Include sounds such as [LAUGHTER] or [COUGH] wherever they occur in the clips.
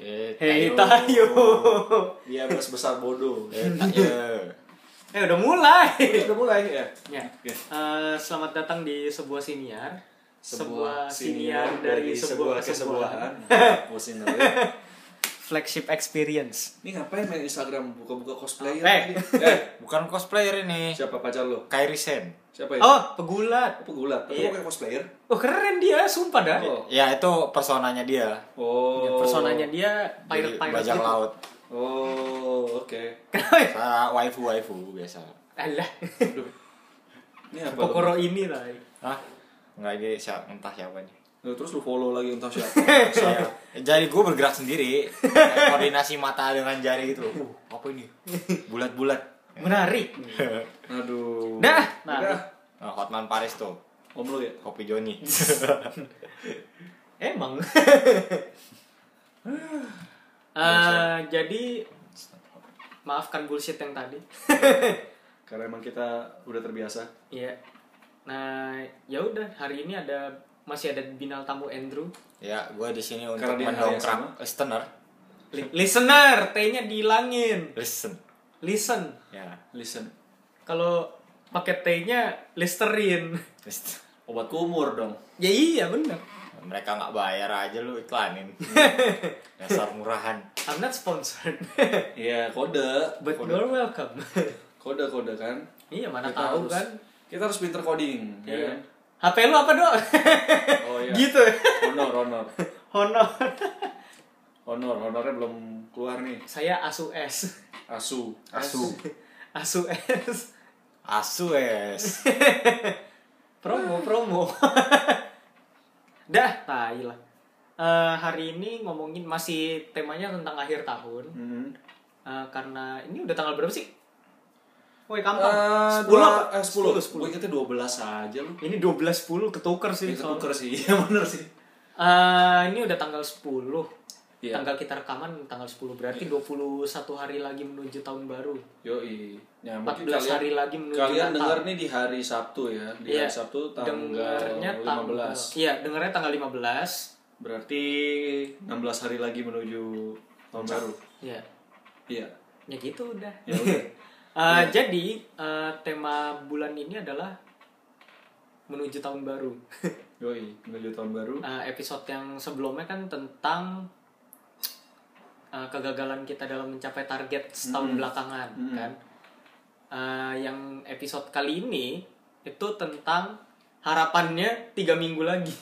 Eh, Hei Tayo. Dia bos Iya, besar [LAUGHS] bodoh. Eh, Tayo. Eh udah mulai. Udah mulai ya. ya. Oke. eh, selamat datang di sebuah siniar. Sebuah, siniar senior dari sebuah kesebuahan. [LAUGHS] Musim ini. Flagship experience. Ini ngapain main Instagram buka-buka cosplayer? Eh. tadi? eh, Bukan cosplayer ini. siapa pacar lo? Kairi Sen. Siapa ya? Oh, pegulat. Apa gulat? Tapi Iya. kok kayak cosplayer? Oh, keren dia, sumpah dah. Oh. Ya itu personanya dia. Ya, Oh. Personanya dia Jadi pirate-pirate bajak gitu. laut. Oh, oke. Kenapa ya? Saya waifu-waifu biasa. Alah. Ini apa? lo? Pokoro Eh, ini lah. Hah? Enggak ini siapa, entah siapa nih. Nah, terus lu follow lagi entah siapa. [LAUGHS] Saya. [LAUGHS] Jadi gue bergerak sendiri. Kayak koordinasi mata dengan jari itu. Uh, apa ini? Bulat-bulat. [LAUGHS] Menarik. Aduh. Dah, nah. nah. Nah, Hotman Paris tuh. Om lu ya? Kopi [LAUGHS] Joni. Emang. Eh, jadi maafkan bullshit yang tadi. Karena emang kita udah terbiasa. Iya. Nah, ya udah hari ini ada masih ada binal tamu Andrew. ya, gue di sini untuk Karena dia hanya mendongkrak listener. [LAUGHS] Li- listener, T-nya dihilangin. Listen. Listen. Ya. Listen. Kalau pakai T-nya listerin. [LAUGHS] Listen. Obat kumur dong. ya iya bener. Mereka nggak bayar aja lu [LAUGHS] iklanin. Dasar murahan. I'm not sponsored. [LAUGHS] Iya, kode. But kode. you're welcome. [LAUGHS] Kode-kode kan. iya, mana Kita tahu harus- kan. Kita harus pinter coding, ya Iya. kan? HP lu apa, Dok? Oh [LAUGHS] iya. [LAUGHS] gitu. Honor, honor. Honor. Honor, honornya belum keluar nih. Saya Asus S. [LAUGHS] Asu. Asu. Asus S. Asu es. promo promo [LAUGHS] dah tai lah Eh, hari ini ngomongin masih temanya tentang akhir tahun Hmm. Eh, karena ini udah tanggal berapa sih woi kampung Eh, 10 dua- eh, apa? 10. 10. Gue ingetnya 12 aja lu. ini 12 10 ketuker sih Itu soalnya. tuker sih, [LAUGHS] iya bener sih. Eh, ini udah tanggal 10 Iya. tanggal kita rekaman tanggal 10 berarti 21 hari lagi menuju tahun baru Yoi. Ya, mungkin 14 kalian- hari lagi menuju Kalian Natal. denger nih di hari Sabtu ya. Di Iya. hari Sabtu tanggal Dengarnya tanggal- 15. iya dengarnya tanggal 15 Berarti 16 hari lagi menuju tahun baru. iya Iya. ya gitu udah Ya [LAUGHS] udah. Uh, Iya. Jadi uh, tema bulan ini adalah menuju tahun baru. Yoi, menuju tahun baru. Uh, episode yang sebelumnya kan tentang uh, kegagalan kita dalam mencapai target setahun belakangan Mm. kan. Uh, yang episode kali ini itu tentang harapannya tiga minggu lagi.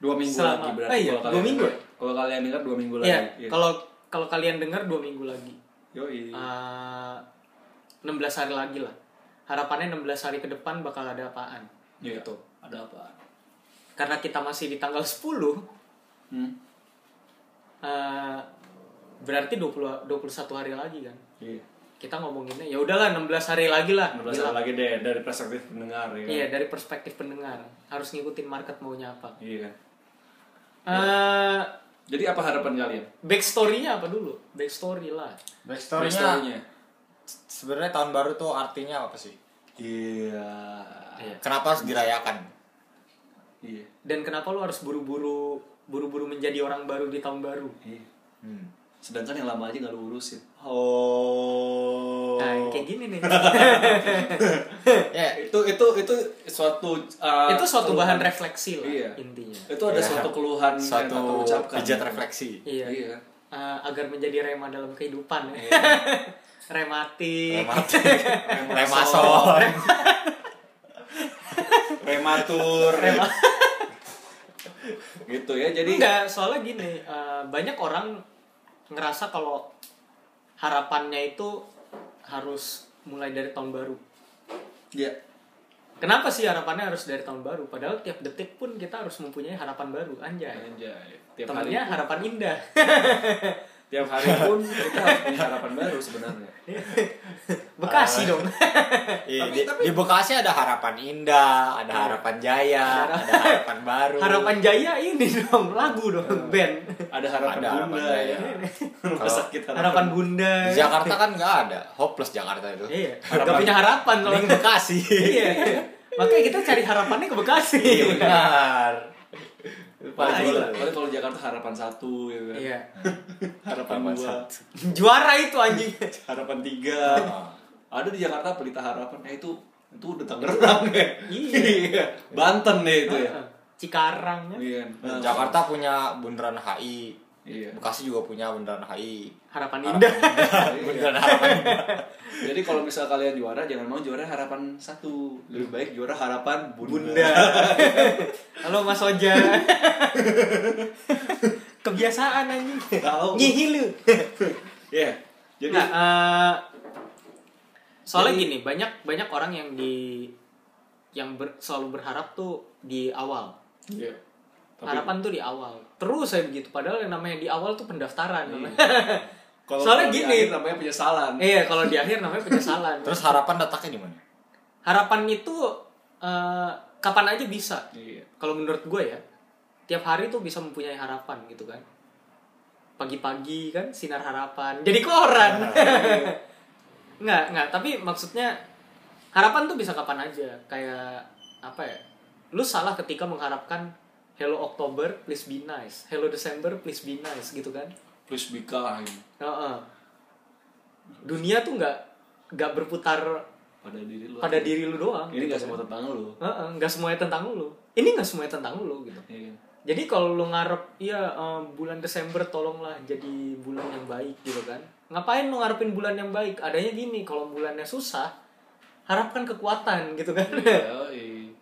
Dua minggu Selama- lagi Ah, berarti. iya, kalau dua kalian minggu dengar. Kalau kalian dengar dua minggu lagi. Iya. Iya. Kalau kalau kalian dengar dua minggu lagi. Yoi. Uh, 16 hari lagi lah. Harapannya 16 hari ke depan bakal ada apaan? Iya. Ada apa? karena kita masih di tanggal 10 Hmm. eh, berarti 20 21 hari lagi kan Iya. kita ngomonginnya ya udahlah 16 hari lagi lah 16 Gila. hari lagi deh dari perspektif pendengar ya. iya dari perspektif pendengar harus ngikutin market maunya apa Iya. eh Jadi apa harapan kalian? backstory-nya apa dulu backstory lah Backstory-nya sebenarnya tahun baru tuh artinya apa sih? Iya. Kenapa harus dirayakan? Iya. dan kenapa lu harus buru-buru buru-buru menjadi orang baru di tahun baru Iya. Hmm. Sedangkan yang lama aja nggak lu urusin. Oh. nah kayak gini [LAUGHS] nih Ya, Eh, Itu itu itu suatu uh, itu suatu bahan keluhan. refleksi lah Iya. intinya Itu ada Ya. suatu keluhan yang tak suatu terucapkan. pijat refleksi. iya, Iya. Eh, agar menjadi rema dalam kehidupan ya. [LAUGHS] rematik [LAUGHS] Rematik. Remason. Remason. Prematur. [LAUGHS] gitu ya. Jadi Enggak, soalnya gini, eh, banyak orang ngerasa kalau harapannya itu harus mulai dari tahun baru. ya. Kenapa sih harapannya harus dari tahun baru? Padahal tiap detik pun kita harus mempunyai harapan baru, anjay. Anjay. Iya, Tiap hari, Temennya harapan indah. [LAUGHS] tiap hari pun kita harus punya harapan baru sebenarnya. Ah. Bekasi dong. Iya, di, di Bekasi ada harapan indah, Iya. ada harapan jaya, ada harapan baru. harapan jaya ini dong, lagu Ah. dong, band. Ada harapan Ada harapan bunda jaya. ya. [LAUGHS] Rumah Kalau sakit harapan. Harapan bunda. Di Jakarta kan nggak ada, hopeless Jakarta itu. Iya, gak punya harapan loh. Mending Bekasi. Iya. Makanya kita cari harapannya ke Bekasi. Iya, benar. Paling Paling kalau- Paling- Iya. paling kalau Jakarta harapan satu gitu kan. Iya. harapan Harapan dua satu. Juara itu anjing. harapan tiga ada di Jakarta pelita harapan ya itu itu udah Tangerang [LAUGHS] ya Iya. Ah. Banten deh itu ya Cikarang ya. iya Nah, Jakarta punya bundaran HI. [LAUGHS] iya Bekasi juga punya bundaran HI. Harapan Ah. indah. bundaran harapan. Iya. jadi kalau misal kalian juara jangan mau juara harapan satu lebih baik juara harapan bunda, [LAUGHS] Bunda. Halo Mas Oja. [LAUGHS] Kebiasaan anjing. Tahu. Nyihil lu. ya jadi Nah, eh, soalnya Jadi- gini, banyak banyak orang yang di yang ber- selalu berharap tuh di awal. iya. Tapi- Harapan tuh di awal. Terus saya begitu padahal yang namanya di awal tuh pendaftaran. Iya. Kalau Soalnya kalau di gini. akhir namanya penyesalan [LAUGHS] Iya, kalau di akhir namanya penyesalan. [LAUGHS] Terus harapan letaknya di mana? Harapan itu eh, kapan aja bisa. iya Kalau menurut gue ya, tiap hari tuh bisa mempunyai harapan gitu kan. Pagi-pagi kan sinar harapan. Jadi Nah. koran. [LAUGHS] Nggak, nggak. Tapi maksudnya harapan tuh bisa kapan aja. Kayak apa ya? Lu salah ketika mengharapkan Hello October, please be nice. Hello December, please be nice gitu kan. plus bika ini. Heeh. Dunia tuh nggak nggak berputar pada diri lu pada diri lu doang. ini gitu gak semua kan. tentang lu Heeh, nggak semuanya tentang lu. Ini nggak semuanya tentang lu gitu. iya kan? [LAUGHS] Jadi kalau lu ngarep ya eh, bulan Desember tolonglah jadi bulan yang baik gitu kan. Ngapain lu ngarepin bulan yang baik? Adanya gini, kalau bulannya susah, harapkan kekuatan gitu kan. Iya, iya. [LAUGHS]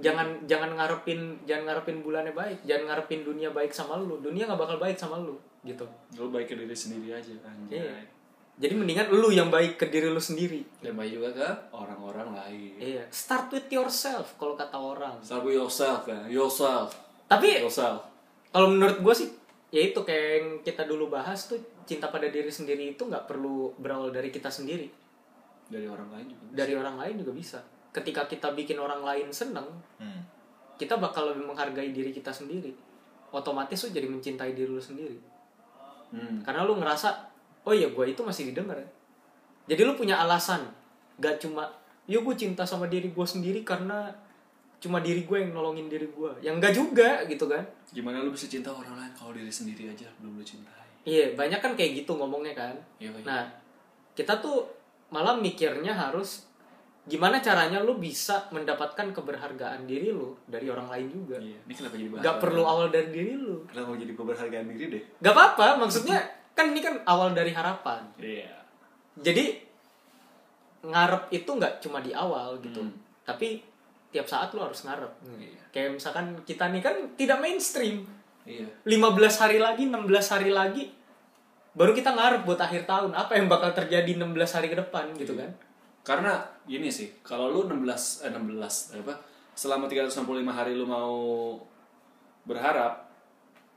jangan jangan ngarepin jangan ngarepin bulannya baik, jangan ngarepin dunia baik sama lu. Dunia nggak bakal baik sama lu gitu. lu baik ke diri sendiri aja anjay Iya. Jadi mendingan lu yang baik ke diri lu sendiri. dan baik juga ke orang-orang lain Iya, start with yourself kalau kata orang. Start with yourself ya, yourself, Tapi yourself. kalau menurut gue sih ya itu kayak yang kita dulu bahas tuh cinta pada diri sendiri itu nggak perlu berawal dari kita sendiri Dari orang lain juga. dari orang lain juga bisa ketika kita bikin orang lain seneng Hmm. kita bakal lebih menghargai diri kita sendiri otomatis lu jadi mencintai diri lu sendiri Hmm. karena lu ngerasa oh ya gue itu masih didengar ya." jadi lu punya alasan gak cuma yo gue cinta sama diri gue sendiri karena cuma diri gue yang nolongin diri gue yang gak juga gitu kan Gimana lu bisa cinta orang lain kalau diri sendiri aja belum lu cintai? Iya, banyak kan kayak gitu ngomongnya kan. Iya, iya. Nah, kita tuh malah mikirnya harus gimana caranya lu bisa mendapatkan keberhargaan diri lu dari orang lain juga. Iya. Ini kenapa jadi bahasa? Gak perlu awal dari diri lu. Kenapa jadi keberhargaan diri deh? Gak apa-apa, maksudnya kan ini kan awal dari harapan. Iya. Jadi ngarep itu nggak cuma di awal gitu, tapi tiap saat lu harus ngarep. Hmm. Iya. Kayak misalkan kita nih kan tidak mainstream. Iya. 15 hari lagi, 16 hari lagi baru kita ngarep buat akhir tahun apa yang bakal terjadi 16 hari ke depan gitu kan. Karena gini sih, kalau lu 16 eh, 16 apa? Selama 365 hari lu mau berharap,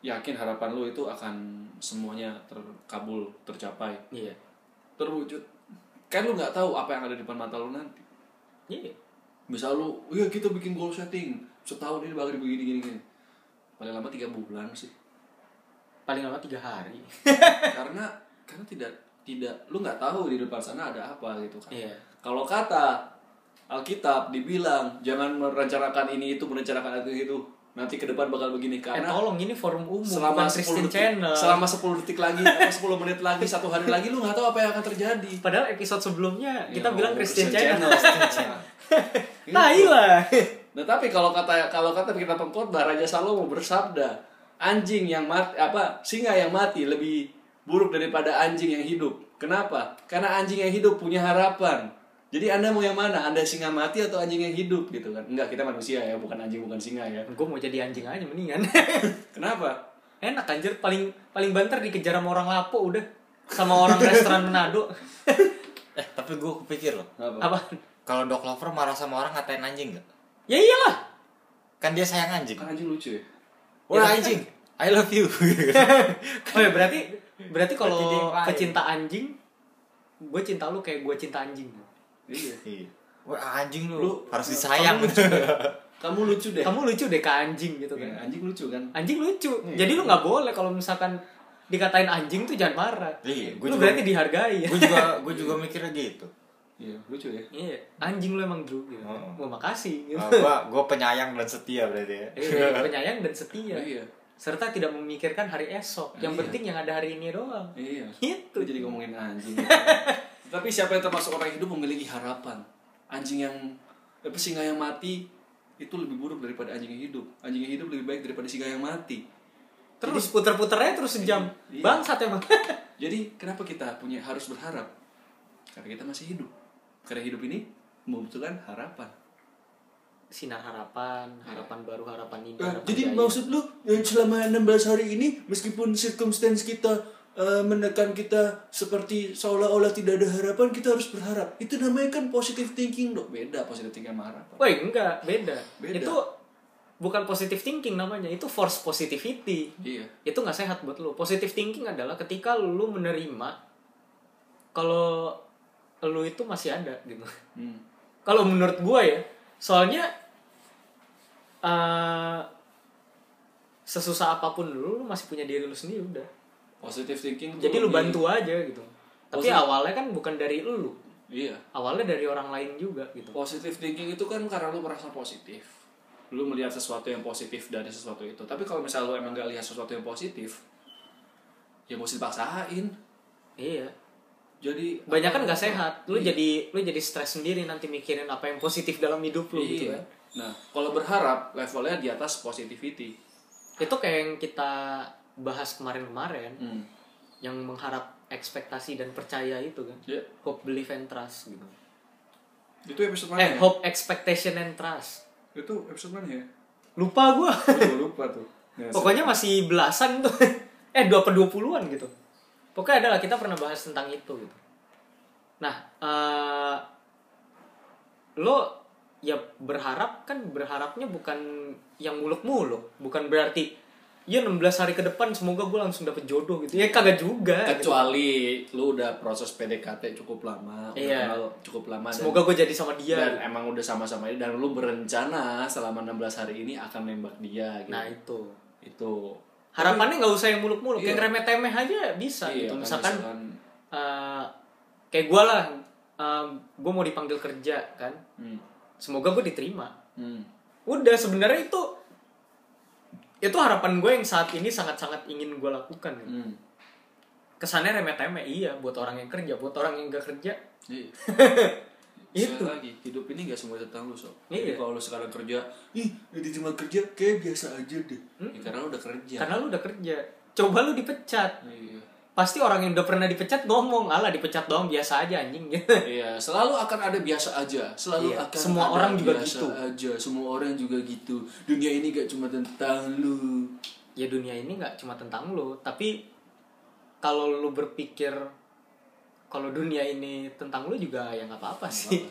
yakin harapan lu itu akan semuanya terkabul, tercapai, Iya. terwujud. Kan lu nggak tahu apa yang ada di depan mata lu nanti. Iya. misal lu iya kita bikin goal setting setahun ini bakal begini gini gini paling lama tiga bulan sih Paling lama tiga hari. karena karena tidak tidak lu nggak tahu di depan sana ada apa gitu kan Iya. kalau kata Alkitab dibilang jangan merencanakan ini itu merencanakan itu itu nanti ke depan bakal begini Eh karena tolong ini forum umum selama bukan Christian 10 detik, Channel. selama 10 detik lagi atau 10 menit lagi satu hari lagi lu nggak tahu apa yang akan terjadi Padahal episode sebelumnya kita Iya, bilang oh, Christian, Channel. [LAUGHS] Iya. Nah, [LAUGHS] iyalah. Nah tapi kalau kata kalau kata kita pengkhotbah Raja Salomo bersabda anjing yang mati apa singa yang mati lebih buruk daripada anjing yang hidup. Kenapa? Karena anjing yang hidup punya harapan. Jadi anda mau yang mana? Anda singa mati atau anjing yang hidup gitu kan? Enggak kita manusia ya bukan anjing bukan singa ya. Gue mau jadi anjing aja mendingan. Kenapa? [LAUGHS] Enak anjir paling paling banter dikejar sama orang lapo udah sama orang restoran [LAUGHS] Manado. Eh, tapi gue kepikir loh. Kenapa? apa? Kalau Doc Lover marah sama orang ngatain anjing gak? Ya iyalah. Kan dia sayang anjing. Kan anjing lucu ya. Wah anjing, I love you. Oh ya berarti berarti Berarti dia kalau yang lain. pecinta anjing, gue cinta lu kayak gue cinta anjing. Iya. [LAUGHS] Iya. Wah anjing lu, Lu- harus [LAUGHS] disayang. Kamu lucu deh. Iya. Kamu lucu deh ke anjing gitu Ya, kan. anjing lucu kan? Anjing lucu. Iya. Jadi lu nggak boleh kalau misalkan dikatain anjing tuh jangan marah. Iya, gua lu juga- berarti dihargai. gue juga gue juga mikirnya gitu. Iya lucu ya. Iya, anjing lu emang Drew gitu. Heeh. Iya. Ah, Oh, Gua makasih gitu. [LAUGHS] Gue gue penyayang dan setia berarti ya. Oh, Iya, penyayang dan setia. Iya. serta tidak memikirkan hari esok. Iya. Yang penting yang ada hari ini doang. Iya. Gitu. Lu jadi ngomongin [LAUGHS] anjing. Tapi siapa yang termasuk orang hidup memiliki harapan? Anjing yang apa singa yang mati itu lebih buruk daripada anjing yang hidup. Anjing yang hidup lebih baik daripada singa yang mati. Terus puter-puternya terus sejam. Iya. Bangsat emang. [LAUGHS] Jadi kenapa kita punya harus berharap? Karena kita masih hidup. Karena hidup ini membutuhkan harapan. Sinar harapan, harapan baru, harapan ini. Eh, harapan jadi jaya. maksud lu eh, selama 16 hari ini meskipun circumstance kita eh, menekan kita seperti seolah-olah tidak ada harapan kita harus berharap itu namanya kan positive thinking dok beda positive thinking sama harapan Woi, enggak, beda. Beda. Itu bukan positive thinking namanya, itu force positivity. iya Itu nggak sehat buat lu. Positive thinking adalah ketika lu menerima kalau lu itu masih ada gitu. [LAUGHS] hmm. Kalau menurut gua ya, soalnya eh, sesusah apapun lu, lu masih punya diri lu sendiri udah. positive thinking Jadi tuh lu lebih- bantu aja gitu. Tapi Positif- awalnya kan bukan dari lu, iya awalnya dari orang lain juga gitu. positive thinking itu kan karena lu merasa positif lu melihat sesuatu yang positif dari sesuatu itu tapi kalau misalnya lu emang gak lihat sesuatu yang positif ya mesti dipaksain Iya. jadi banyak kan apa- nggak sehat lu Iya. jadi lu jadi stres sendiri nanti mikirin apa yang positif dalam hidup lu Iya. gitu kan Nah, kalau berharap levelnya di atas positivity. itu kayak yang kita bahas kemarin-kemarin Hmm. yang mengharap ekspektasi dan percaya itu kan Ya, hope belief and trust gitu itu episode mana? eh ya? hope expectation and trust Itu episode mana [LAUGHS] ya? lupa gua Gue lupa tuh. Ya, pokoknya masih belasan tuh [LAUGHS] eh dua per dua puluhan gitu pokoknya adalah kita pernah bahas tentang itu gitu nah eh, lo ya berharap kan berharapnya bukan yang muluk-muluk bukan berarti ya 16 hari ke depan semoga gue langsung dapet jodoh gitu ya kagak juga sedih. gitu. kecuali lu udah proses PDKT cukup lama, udah Iya. kenal cukup lama dan- semoga gue jadi sama dan, dia emang udah sama-sama ini dan lu berencana selama 16 hari ini akan nembak dia gitu. nah itu itu harapannya nggak usah yang muluk-muluk Iya. yang remeh-temeh aja bisa Iya, gitu kan, misalkan eh, kayak gue lah gue mau dipanggil kerja kan hmm, semoga gue diterima hmm, udah sebenarnya itu itu harapan gue yang saat ini sangat-sangat ingin gue lakukan gitu. hmm. kesannya remeh-temeh iya buat orang yang kerja buat orang yang gak kerja [LAUGHS] Iya. Itu. Sekali lagi hidup ini gak semua tentang lu sob. Jadi Iya. kalau lu sekarang kerja, ih di tempat kerja kayak biasa aja deh. Hmm? Ya, karena lu udah kerja. karena lu udah kerja coba lu dipecat Iya. pasti orang yang udah pernah dipecat ngomong ala dipecat doang biasa aja anjing [LAUGHS] gitu Iya, selalu akan ada biasa aja. Selalu Iya, akan semua ada orang juga biasa gitu. aja. Semua orang juga gitu. Dunia ini gak cuma tentang lu. ya dunia ini nggak cuma tentang lu tapi kalau lu berpikir kalau dunia ini tentang lu juga ya nggak apa-apa sih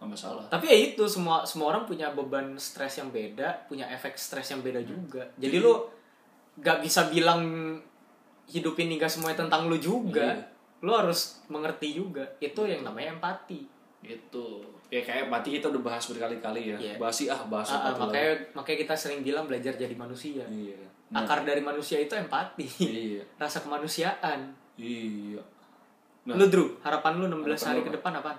Gak masalah. [LAUGHS] Tapi ya itu semua semua orang punya beban stres yang beda, punya efek stres yang beda juga. Jadi lu gak bisa bilang hidup ini gak semuanya tentang lu Iya. juga. Lu harus mengerti juga. Itu yang namanya empati. Gitu. Ya kayak mati kita udah bahas berkali-kali ya. Iya. Basi ah bahas Ah, ah, apa tuh makanya makanya kita sering bilang belajar jadi manusia. lagi. Iya. Nah, Akar dari manusia itu empati. Iya. [LAUGHS] Rasa kemanusiaan. Iya. Nah. Lu Drew, harapan lu 16 Harapan lu hari ke apa? depan apa?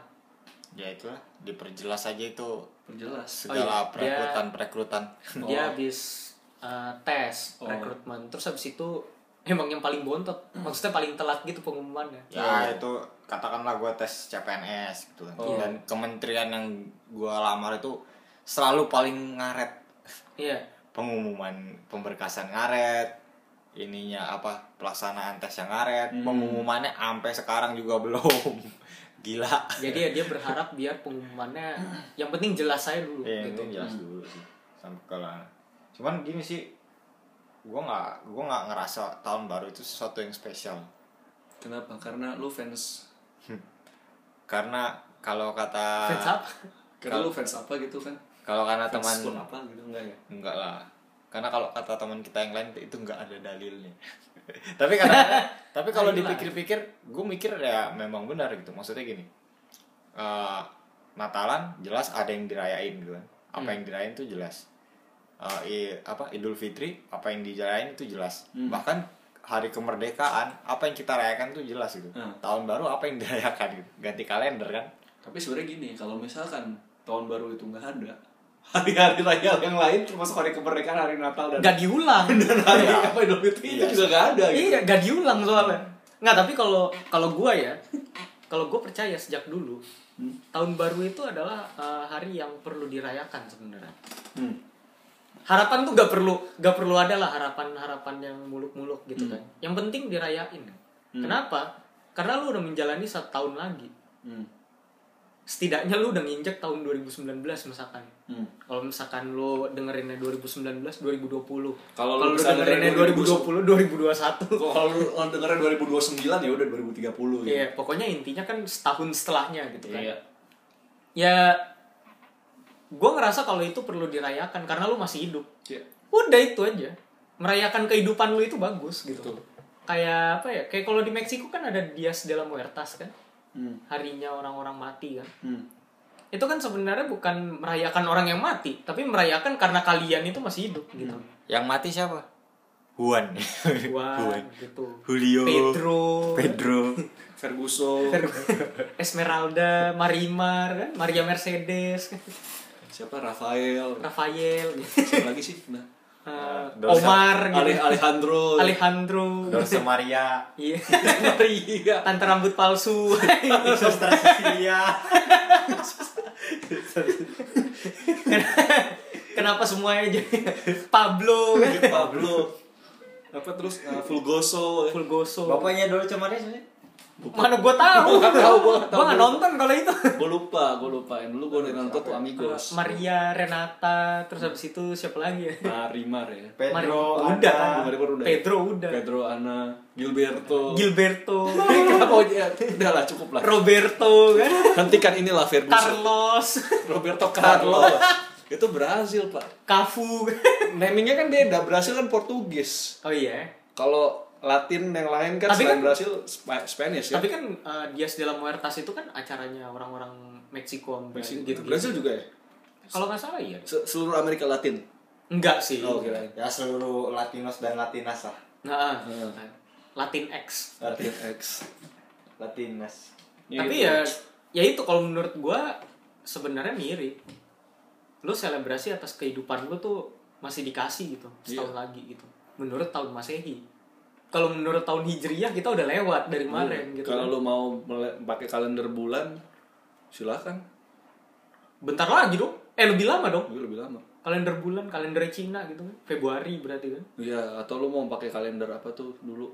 Ya itulah diperjelas aja itu Perjelas. iya, segala dia- perekrutan-perekrutan. Dia habis eh, tes Hmm. Oh. rekrutmen. Terus habis itu emang yang paling bontot. Hmm. Maksudnya paling telat gitu pengumumannya. Iya, Ya itu katakanlah gue tes CPNS gitu kan. Oh. Dan kementerian yang gue lamar itu selalu paling ngaret Iya. pengumuman pemberkasan ngaret ininya apa pelaksanaan tes yang ngaret Hmm. pengumumannya sampai sekarang juga [LAUGHS] belum gila Jadi ya dia berharap biar pengumumannya yang penting jelas saya dulu Iya, ya, gitu. ini hmm. jelas dulu sih sampai kalau cuman gini sih gue nggak gue nggak ngerasa tahun baru itu sesuatu yang spesial Kenapa? Karena lu fans karena kalau iya. kata Fans up. Ah. Karena lu fans apa gitu kan? kalau karena Fans teman klub apa gitu enggak ya? enggak lah karena kalau kata teman kita yang lain itu enggak ada dalilnya [LAUGHS] tapi karena tapi kalau dipikir-pikir gue mikir ya memang benar gitu maksudnya gini eh, Natalan jelas ada yang dirayain gitu kan apa yang dirayain itu jelas Eh, i- apa Idul Fitri apa yang dirayain itu jelas bahkan hari kemerdekaan apa yang kita rayakan itu jelas gitu Hmm. tahun baru apa yang [LAUGHS] dirayakan gitu ganti kalender kan Tapi sebenarnya gini, kalau misalkan tahun baru itu nggak ada, [LAUGHS] hari-hari raya yang lain termasuk hari kemerdekaan hari Natal dan Gak [LAUGHS] diulang. dan hari apa Idul Fitri itu Iya. juga gak ada gitu Iya, gak diulang soalnya. Nggak, tapi kalau kalau gua ya, kalau gua percaya sejak dulu, Hmm. tahun baru itu adalah eh, hari yang perlu dirayakan sebenarnya. Hmm. Harapan tuh gak perlu gak perlu ada lah harapan-harapan yang muluk-muluk gitu Hmm. kan. Yang penting dirayain. Kenapa? Karena lu udah menjalani satu tahun lagi. Hmm. Setidaknya lu udah nginjek tahun 2019 misalkan. Hmm. Kalau misalkan lu dengerinnya 2019, 2020. Kalau lu Kalau lu bisa dengerinnya dengerin 2020, 2021. kalau lu lu dengerin 2029 ya udah 2030 gitu. Iya, pokoknya intinya kan setahun setelahnya gitu kan. Iya. Ya, gue ngerasa kalau itu perlu dirayakan karena lu masih hidup. Iya. Udah itu aja. Merayakan kehidupan lu itu bagus gitu. Betul. Kayak apa ya? Kayak kalau di Meksiko kan ada Dias de la Muertas kan. Hmm. Harinya orang-orang mati kan. Hmm. Itu kan sebenarnya bukan merayakan orang yang mati, tapi merayakan karena kalian itu masih hidup gitu. Hmm. Yang mati siapa? Juan. Wah, gitu. Julio. Pedro, [LAUGHS] Pedro. Ferguson. Esmeralda, Marimar kan, Maria Mercedes kan. siapa Rafael. Rafael gitu. siapa lagi sih? Nah, Eh, Dosa. Omar Ale- gitu. [LAUGHS] Alejandro. Alejandro. Dulce Maria. Iya. Maria. Tante rambut palsu. [LAUGHS] Suster Cecilia. Kenapa semuanya jadi [LAUGHS] Pablo Pablo. Apa terus eh, Fulgoso. Fulgoso. Bapaknya Dulce Maria sih. Mana gua tahu. Gua nggak tahu, gua nggak tahu. Gua nggak nonton kalau itu. Gue lupa, gue lupa. Yang dulu gue udah nonton tuh Amigos. [LAUGHS] Maria Renata, terus habis itu siapa lagi ya? Marimar ya. Mario. Pedro. Udah. Ana. Marimar udah. ya? Pedro udah. Pedro Ana, Gilberto. [LAUGHS] Gilberto, Kenapa ya? Udah lah, cukup lah. Roberto kan. Hentikan inilah Ferguson. Carlos, Roberto Carlos. [LAUGHS] Itu Brazil, Pak. Cafu. [LAUGHS] kan. Namingnya kan beda, Brasil kan Portugis. Oh iya. Kalau Latin yang lain kan Tapi selain kan- Brasil Spa- Spanish ya. Tapi kan eh, Dias de la Muertas itu kan acaranya orang-orang Meksiko sama Brasil, Brazil gitu. Brasil juga ya. Kalau nggak salah iya. Se- Seluruh Amerika Latin. Enggak sih. Oh, kirain. Ya seluruh Latinos dan Latinas lah. Nah, ah. Hmm. Latin X. Latin. X. Latinas. Iya, gitu. Tapi ya ya itu kalau menurut gua sebenarnya mirip. Lu selebrasi atas kehidupan lu tuh masih dikasih gitu Iya. setahun lagi gitu. Menurut tahun Masehi. Kalau menurut tahun Hijriah kita udah lewat dari kemarin gitu. Iya, Kalau kan. lu mau mele- pakai kalender bulan, silakan. Bentar lagi dong. Eh lebih lama dong. Gue lebih lama. Kalender bulan, kalender Cina gitu kan. Februari berarti kan. Iya, atau lu mau pakai kalender apa tuh dulu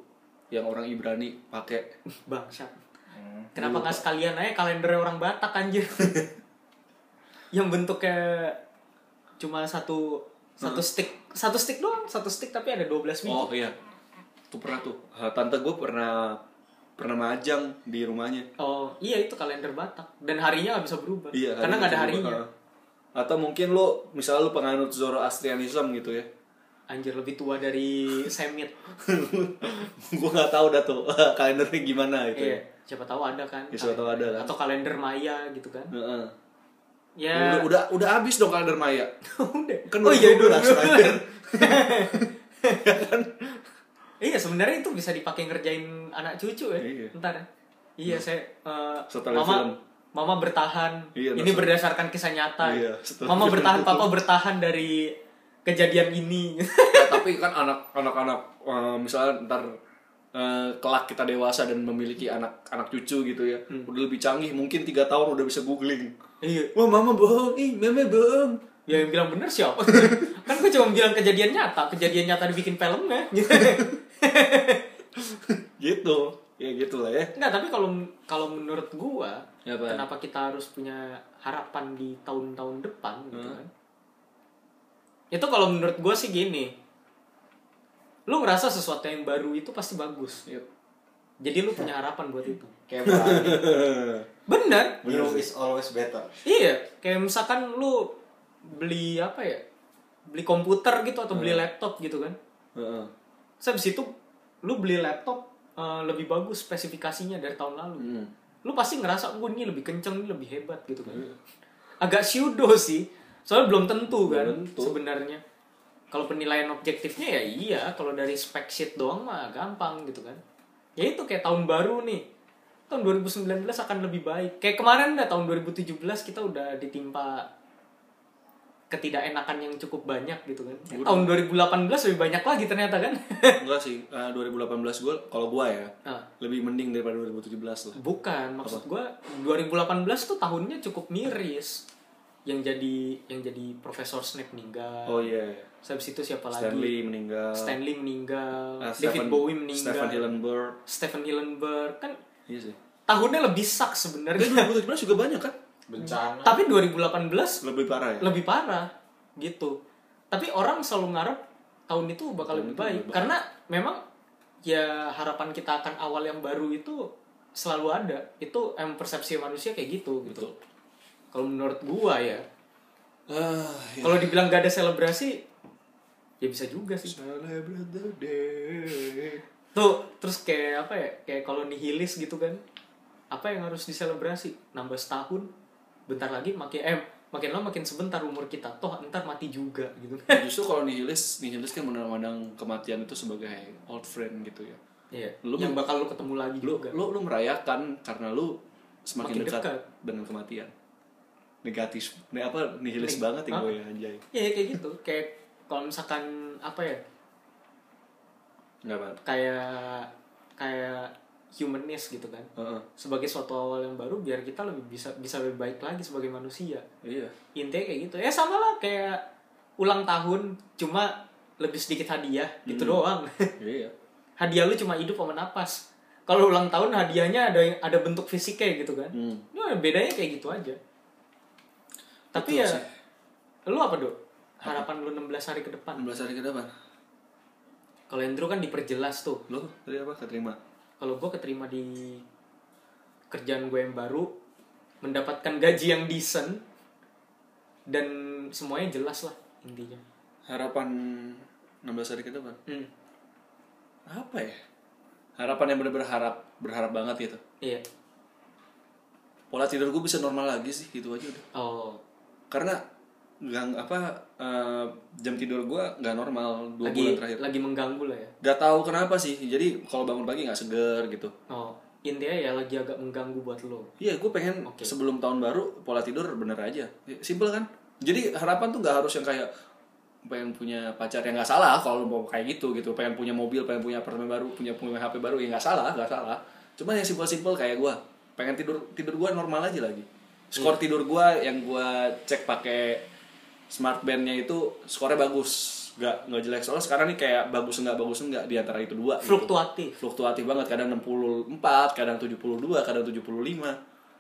yang orang Ibrani pakai. [LAUGHS] Bangsat. Hmm, Kenapa nggak sekalian aja kalender orang Batak [LAUGHS] anjir? Yang bentuknya cuma satu satu stick, satu stick doang, satu stick tapi ada 12 biji. Hmm. Oh iya. Tuh pernah tuh. Ah, Tante gue pernah pernah majang di rumahnya. Oh, iya itu kalender Batak dan harinya nggak bisa berubah. Iya, Karena nggak ada itu juga, harinya. ah. Atau mungkin lo misalnya lo penganut Zoroastrianism gitu ya. [LAUGHS] Anjir lebih tua dari Semit. gue nggak tahu dah tuh [LAUGHS] kalendernya gimana gitu. Iya, Ya. siapa tahu ada kan. Ya, siapa tahu ada kan. Atau kalender Maya gitu kan. Heeh. Ya. Udah, udah udah habis dong kalender Maya. [LAUGHS] Udah. Kan oh iya, udah udah. belas terakhir. Iya sebenarnya itu bisa dipakai ngerjain anak cucu ya. Iya. Ntar. ya. Iya saya eh, Setelah mama film. mama bertahan. Iya, ini setelah- berdasarkan kisah nyata. Iya, setelah mama film bertahan, itu. papa bertahan dari kejadian ini. [LAUGHS] Ya, tapi kan anak anak anak misalnya ntar eh, kelak kita dewasa dan memiliki anak anak cucu gitu ya Hmm. udah lebih canggih mungkin tiga tahun udah bisa googling iya. wah mama bohong ih mama bohong Ya yang bilang bener [LAUGHS] siapa? kan gue cuma bilang kejadian nyata, kejadian nyata dibikin film ya. [LAUGHS] gitu ya gitulah ya Enggak, tapi kalau kalau menurut gua, Ya, apa? kenapa kita harus punya harapan di tahun-tahun depan gitu kan? Itu kalau menurut gua sih gini. Lu ngerasa sesuatu yang baru itu pasti bagus. Yuk. Jadi lu punya harapan buat itu. Kayak [LAUGHS] Bali. Bener. New is always better. Iya, kayak misalkan lu beli apa ya? Beli komputer gitu atau beli laptop gitu kan. [LAUGHS] Heeh. Terus habis itu lu beli laptop eh, lebih bagus spesifikasinya dari tahun lalu. Hmm. Lu pasti ngerasa gue ini lebih kenceng, ini lebih hebat gitu kan. Hmm. Agak pseudo sih. Soalnya belum tentu kan tentu. sebenarnya. Kalau penilaian objektifnya ya iya, kalau dari spec sheet doang mah gampang gitu kan. Ya itu kayak tahun baru nih. Tahun 2019 akan lebih baik. Kayak kemarin dah tahun 2017 kita udah ditimpa ketidakenakan yang cukup banyak gitu kan. Eh, Tahun 2018 lebih banyak lagi ternyata [LAUGHS] kan. Enggak sih, eh, 2018 gue kalau gua ya Ah. lebih mending daripada 2017 lah. Bukan, maksud gua 2018 tuh tahunnya cukup miris. Yang jadi yang jadi Profesor Snape meninggal. Oh iya, Saya itu siapa lagi? Stanley meninggal. Stanley meninggal, Eh, David Stephen- Bowie meninggal, Stephen Hillenburg. Stephen Hillenburg kan Iya sih. tahunnya lebih sak Tapi sebenarnya. 2017 juga banyak kan? bencana Tapi 2018 Lebih parah ya. lebih parah gitu tapi orang selalu ngarep tahun itu bakal lebih baik karena memang ya harapan kita akan awal yang baru itu selalu ada itu em persepsi manusia kayak gitu gitu kalau menurut gua ya Ah, ya. kalau dibilang gak ada selebrasi ya bisa juga sih Celebrate the day. tuh terus kayak apa ya kayak kalau nihilis gitu kan apa yang harus diselebrasi nambah setahun bentar lagi makin em makin lama makin sebentar umur kita toh ntar mati juga gitu Nah, Justru kalau nihilis, nihilis kan menandang kematian itu sebagai old friend gitu ya. Iya. Lu yang bakal lu ketemu lagi Lu juga. lu, lu merayakan karena lu semakin Makin dekat, dekat. dengan kematian. Negatif, ne, apa nihilis Nih, banget ya apa? gue ya anjay. Iya iya, kayak gitu. Kayak kalau misalkan apa ya? Enggak apa. Kayak kayak humanis gitu kan. Heeh. Sebagai suatu awal yang baru biar kita lebih bisa bisa lebih baik lagi sebagai manusia. Iya. Intinya kayak gitu. Ya sama lah kayak ulang tahun cuma lebih sedikit hadiah gitu doang. [LAUGHS] Iya. hadiah lu cuma hidup sama napas. Kalau ulang tahun hadiahnya ada ada bentuk fisiknya gitu kan. Hmm. Ya, bedanya kayak gitu aja. Tapi Betul ya sih. lu apa, Dok? Harapan lu 16 hari ke depan. 16 hari ke depan. Kalau Andrew kan diperjelas tuh. Lu tadi apa keterima? Kalau gue keterima di kerjaan gue yang baru, mendapatkan gaji yang decent dan semuanya jelas lah intinya. Harapan 16 hari ke depan. Hmm, Apa ya? Harapan yang bener-bener harap, berharap banget gitu. iya. Pola tidur gue bisa normal lagi sih, gitu aja udah. Oh, karena gang apa eh, jam tidur gua nggak normal dua lagi bulan terakhir lagi mengganggu lah ya. nggak tahu kenapa sih jadi kalau bangun pagi nggak seger gitu Oh, intinya ya lagi agak mengganggu buat lo. iya gue pengen sebelum tahun baru pola tidur bener aja simple kan jadi harapan tuh nggak harus yang kayak pengen punya pacar yang nggak salah kalau mau kayak gitu gitu pengen punya mobil pengen punya apartemen baru punya punya hp baru ya nggak salah nggak salah cuman yang simple simple kayak gua pengen tidur tidur gua normal aja lagi skor tidur gua yang gua cek pakai smart bandnya itu skornya bagus nggak nggak jelek soalnya sekarang nih kayak bagus enggak bagus enggak di antara itu dua gitu Fluktuatif. fluktuatif banget kadang 64 kadang 72 kadang 75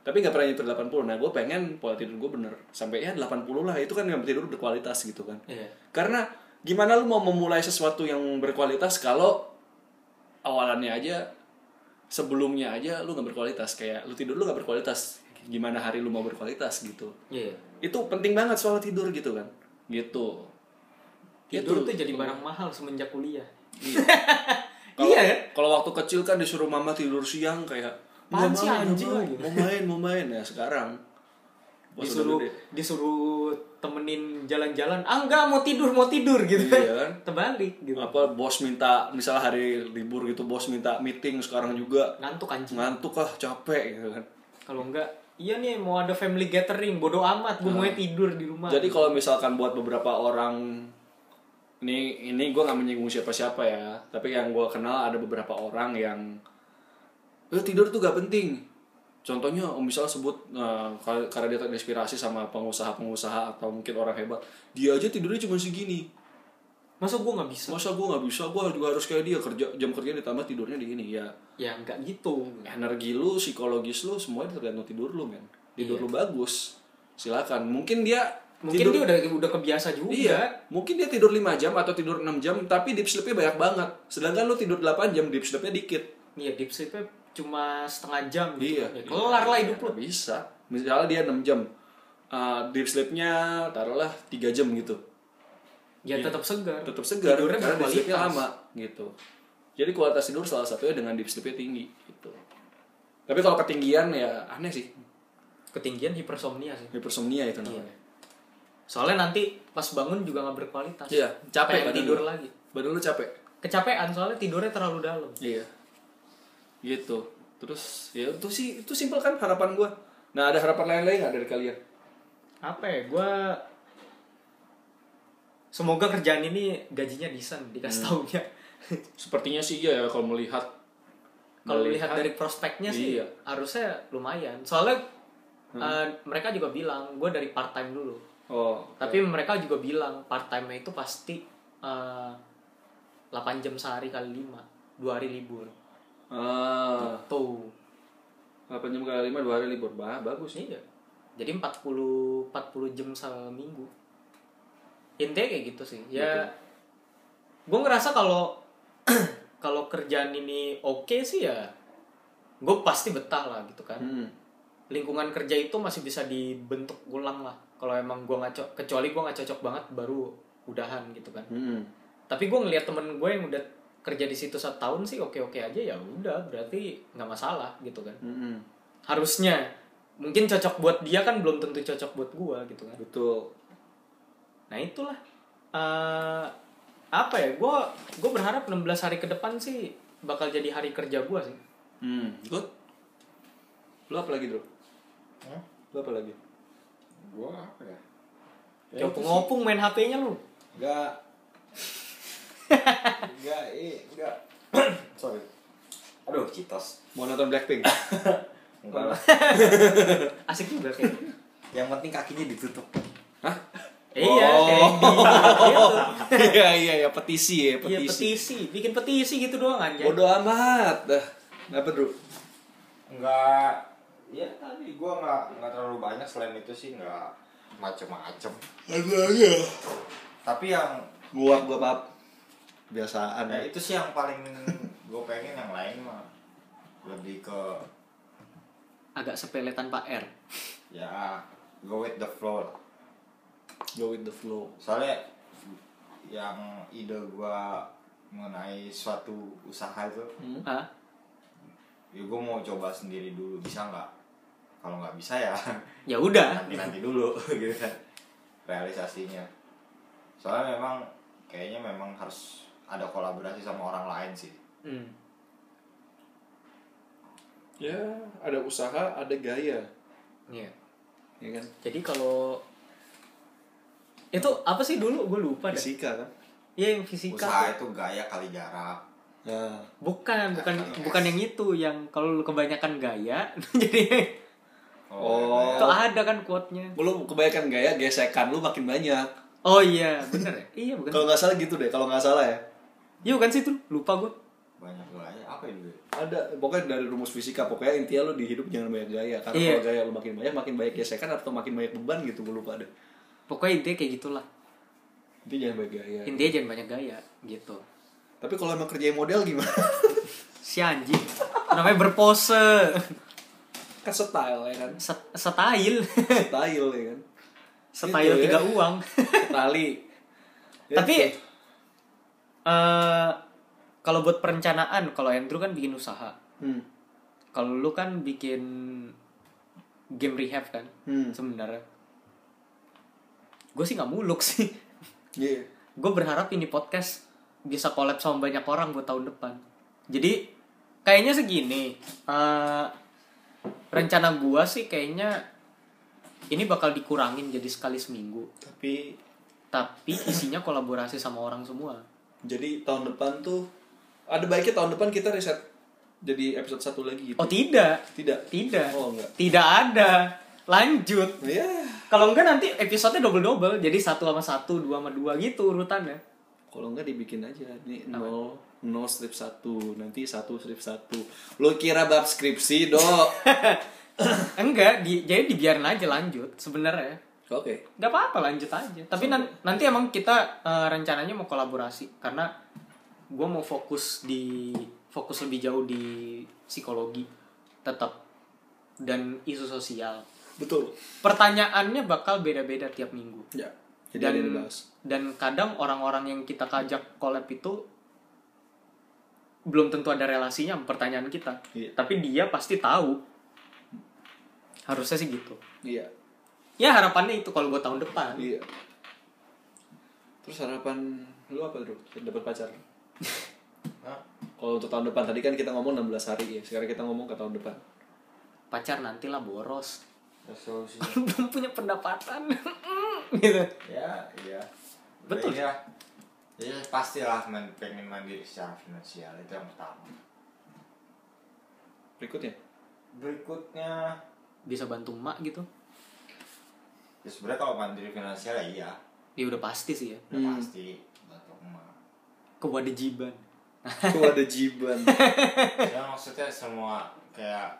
tapi nggak pernah nyetir 80 nah gue pengen pola tidur gue bener sampai ya 80 lah itu kan yang tidur berkualitas gitu kan Iya. karena gimana lu mau memulai sesuatu yang berkualitas kalau awalannya aja sebelumnya aja lu nggak berkualitas kayak lu tidur lu nggak berkualitas gimana hari lu mau berkualitas gitu Iya. itu penting banget soal tidur gitu kan gitu Tidur tuh gitu. jadi barang mahal semenjak kuliah. [LAUGHS] Kalau- Iya kan? Kalau waktu kecil kan disuruh mama tidur siang kayak Apaan "Nggak, sih, Mama, nggak anjing mau. lagi?" mau main, mau main ya sekarang. Pas udah disuruh gede. disuruh temenin jalan-jalan ah enggak mau tidur mau tidur gitu Iya kan? [LAUGHS] terbalik gitu apa bos minta misalnya hari libur gitu bos minta meeting sekarang juga ngantuk anjing ngantuk ah capek gitu kan kalau enggak iya nih mau ada family gathering bodoh amat gue mau tidur di rumah Nah. jadi kalau misalkan buat beberapa orang ini ini gue nggak menyinggung siapa-siapa ya tapi yang gue kenal ada beberapa orang yang "Eh, tidur tuh gak penting contohnya om misalnya sebut eh, kar- karena dia terinspirasi sama pengusaha-pengusaha atau mungkin orang hebat dia aja tidurnya cuma segini masa gue nggak bisa masa gue nggak bisa gue juga harus kayak dia kerja jam kerja ditambah tidurnya di ini ya ya enggak gitu energi lu, psikologis lu, semuanya tergantung tidur lu, men. Tidur lu bagus. Silakan. Mungkin dia mungkin tidur dia udah udah kebiasa juga Iya, mungkin dia tidur 5 jam atau tidur 6 jam, tapi deep sleep-nya banyak banget. Sedangkan lu tidur 8 jam, deep sleep-nya dikit. iya deep sleep-nya cuma setengah jam gitu Iya. kan. Ya, kelar lah hidup lu Nggak Bisa. Misalnya dia 6 jam. eh, deep sleep-nya taruhlah 3 jam gitu. ya tetap segar Tetap Iya. segar Tidurnya karena deep sleep-nya berkualitas. lama gitu. Jadi kualitas tidur salah satunya dengan deep sleep-nya tinggi gitu. Tapi kalau ketinggian ya aneh sih. ketinggian hipersomnia sih Hypersomnia itu namanya. soalnya nanti pas bangun juga nggak berkualitas Iya, capek Pengen badan tidur lu. lagi Badan lu capek. kecapean soalnya tidurnya terlalu dalam Iya. Gitu. Terus ya itu sih itu simpel kan harapan gua. Nah, ada harapan lain-lain nggak dari kalian? apa ya gue Semoga kerjaan ini gajinya decent dikasih Hmm. taunya. [LAUGHS] Sepertinya sih iya ya kalau melihat Kalau lihat dari prospeknya sih Iya. Hmm. harusnya lumayan. Soalnya eh, mereka juga bilang gue dari part time dulu. Oh, Tapi mereka juga bilang part time itu pasti eh 8 jam sehari kali 5, 2 hari libur. ah, Tuh. 8 jam kali 5 2 hari libur. Bah, bagus Iya. Jadi 40 40 jam seminggu. Intinya kayak gitu sih. Ya gue ngerasa kalau [CLEARS THROAT] kalau kerjaan ini oke sih ya gue pasti betah lah gitu kan. Hmm. Lingkungan kerja itu masih bisa dibentuk ulang lah. Kalau emang gue ngaco kecuali gue nggak cocok banget baru udahan gitu kan. Hmm. Tapi gue ngeliat temen gue yang udah kerja di situ satu tahun sih oke-oke aja ya udah berarti nggak masalah gitu kan. Hmm. harusnya mungkin cocok buat dia kan belum tentu cocok buat gua gitu kan Betul. nah itulah Eh, apa ya gua gua berharap 16 hari ke depan sih bakal jadi hari kerja gua sih Hmm. Good. Lu apa lagi, Bro? Hah? Lu apa lagi? Gua apa ya? Ya, itu sih. ngopung-ngopung main HP-nya lu Enggak. enggak, eh, enggak. [CLEARS THROAT] Sorry. Aduh, citos. Mau nonton [LAUGHS] Blackpink? Enggak lah. asik juga kayaknya [LAUGHS] Yang penting kakinya ditutup. Hah? iya Oh. kayak gitu. [LAUGHS] Iya, iya, ya petisi ya, iya petisi bikin petisi gitu doang anjay Bodoh amat. Dah. Apa, Bro? Enggak. Ya tadi gua enggak enggak terlalu banyak selain itu sih enggak macem-macem. Ya, Tapi yang Gua gua pap. Biasaan. ya itu sih yang paling gue pengen yang lain mah lebih ke agak sepele tanpa R ya go with the flow lah. Go with the flow. soalnya yang ide gua mengenai suatu usaha itu Hah? ya gue mau coba sendiri dulu bisa nggak kalau nggak bisa ya [LAUGHS] ya udah nanti nanti dulu [LAUGHS] gitu kan realisasinya soalnya memang kayaknya memang harus ada kolaborasi sama orang lain sih Hmm. Ya, ada usaha, ada gaya. Iya. Ya kan? jadi kalau itu apa sih dulu gue lupa deh Fisika kan? iya yang fisika usaha itu gaya kali jarak Nah. Bukan, bukan Yes. bukan yang itu yang kalau lu kebanyakan gaya [LAUGHS] jadi Oh. itu ada kan quote-nya. Lu kebanyakan gaya, gesekan lu makin banyak. Oh iya, bener ya? Iya bukan. Kalau nggak salah gitu deh, kalau nggak salah ya. Iya bukan sih itu, lupa gue. banyak gaya apa ya dulu Ada pokoknya dari rumus fisika pokoknya intinya lu di hidup jangan banyak gaya karena Iya. kalau gaya lu makin banyak makin banyak gesekan atau makin banyak beban gitu gue lupa deh. Pokoknya intinya kayak gitulah. Itu jangan banyak gaya. Intinya jangan banyak gaya gitu. Tapi kalau emang kerjain model gimana? Si anjing namanya berpose, [LAUGHS] kan style ya kan. Set- [LAUGHS] style, Style ya kan. style Gitu ya. tiga [LAUGHS] uang. Tali. Ya, Tapi gitu. eh kalau buat perencanaan, kalau Andrew kan bikin usaha. hmm. Kalau lu kan bikin game rehab kan Hmm. sebenarnya. Gue sih nggak muluk [LAUGHS] sih. Iya. Gue berharap ini podcast bisa collab sama banyak orang buat tahun depan. Jadi kayaknya segini. eh, rencana gua sih kayaknya ini bakal dikurangin jadi sekali seminggu. Tapi Tapi isinya kolaborasi sama orang semua. jadi tahun depan tuh ada baiknya tahun depan kita riset jadi episode satu lagi gitu. Oh tidak, Tidak. tidak, Oh, enggak. tidak ada. Lanjut. Ya. Kalau enggak nanti episodenya double double, jadi satu sama satu, dua sama dua gitu urutannya. Kalau enggak dibikin aja nih nol nol strip satu nanti satu strip satu. Lo kira bab skripsi dok? [LAUGHS] Enggak, di, jadi dibiarin aja lanjut sebenarnya. Oke. Gak apa-apa lanjut aja. Tapi nan- nanti emang kita eh, rencananya mau kolaborasi karena gue mau fokus di fokus lebih jauh di psikologi tetap dan isu sosial. Betul. Pertanyaannya bakal beda-beda tiap minggu. Ya. Jadi dan ada yang dibahas. dan kadang orang-orang yang kita kajak collab itu belum tentu ada relasinya sama pertanyaan kita Iya. tapi dia pasti tahu harusnya sih gitu Iya. ya harapannya itu kalau buat tahun depan Iya. Terus harapan lu apa bro? Dapat pacar? Hah? Kalau untuk tahun depan tadi kan kita ngomong 16 hari ya. Sekarang kita ngomong ke tahun depan. pacar nantilah boros [LAUGHS] resolusinya belum punya pendapatan [LAUGHS] gitu ya iya Betul. ya jadi pastilah men- pengen mandiri secara finansial itu yang pertama [LAUGHS] Berikutnya. berikutnya bisa bantu emak gitu ya sebenarnya kalau mandiri finansial ya iya dia udah pasti sih ya udah Hmm. pasti bantu emak kewajiban Tuh ada jiban. ya maksudnya semua kayak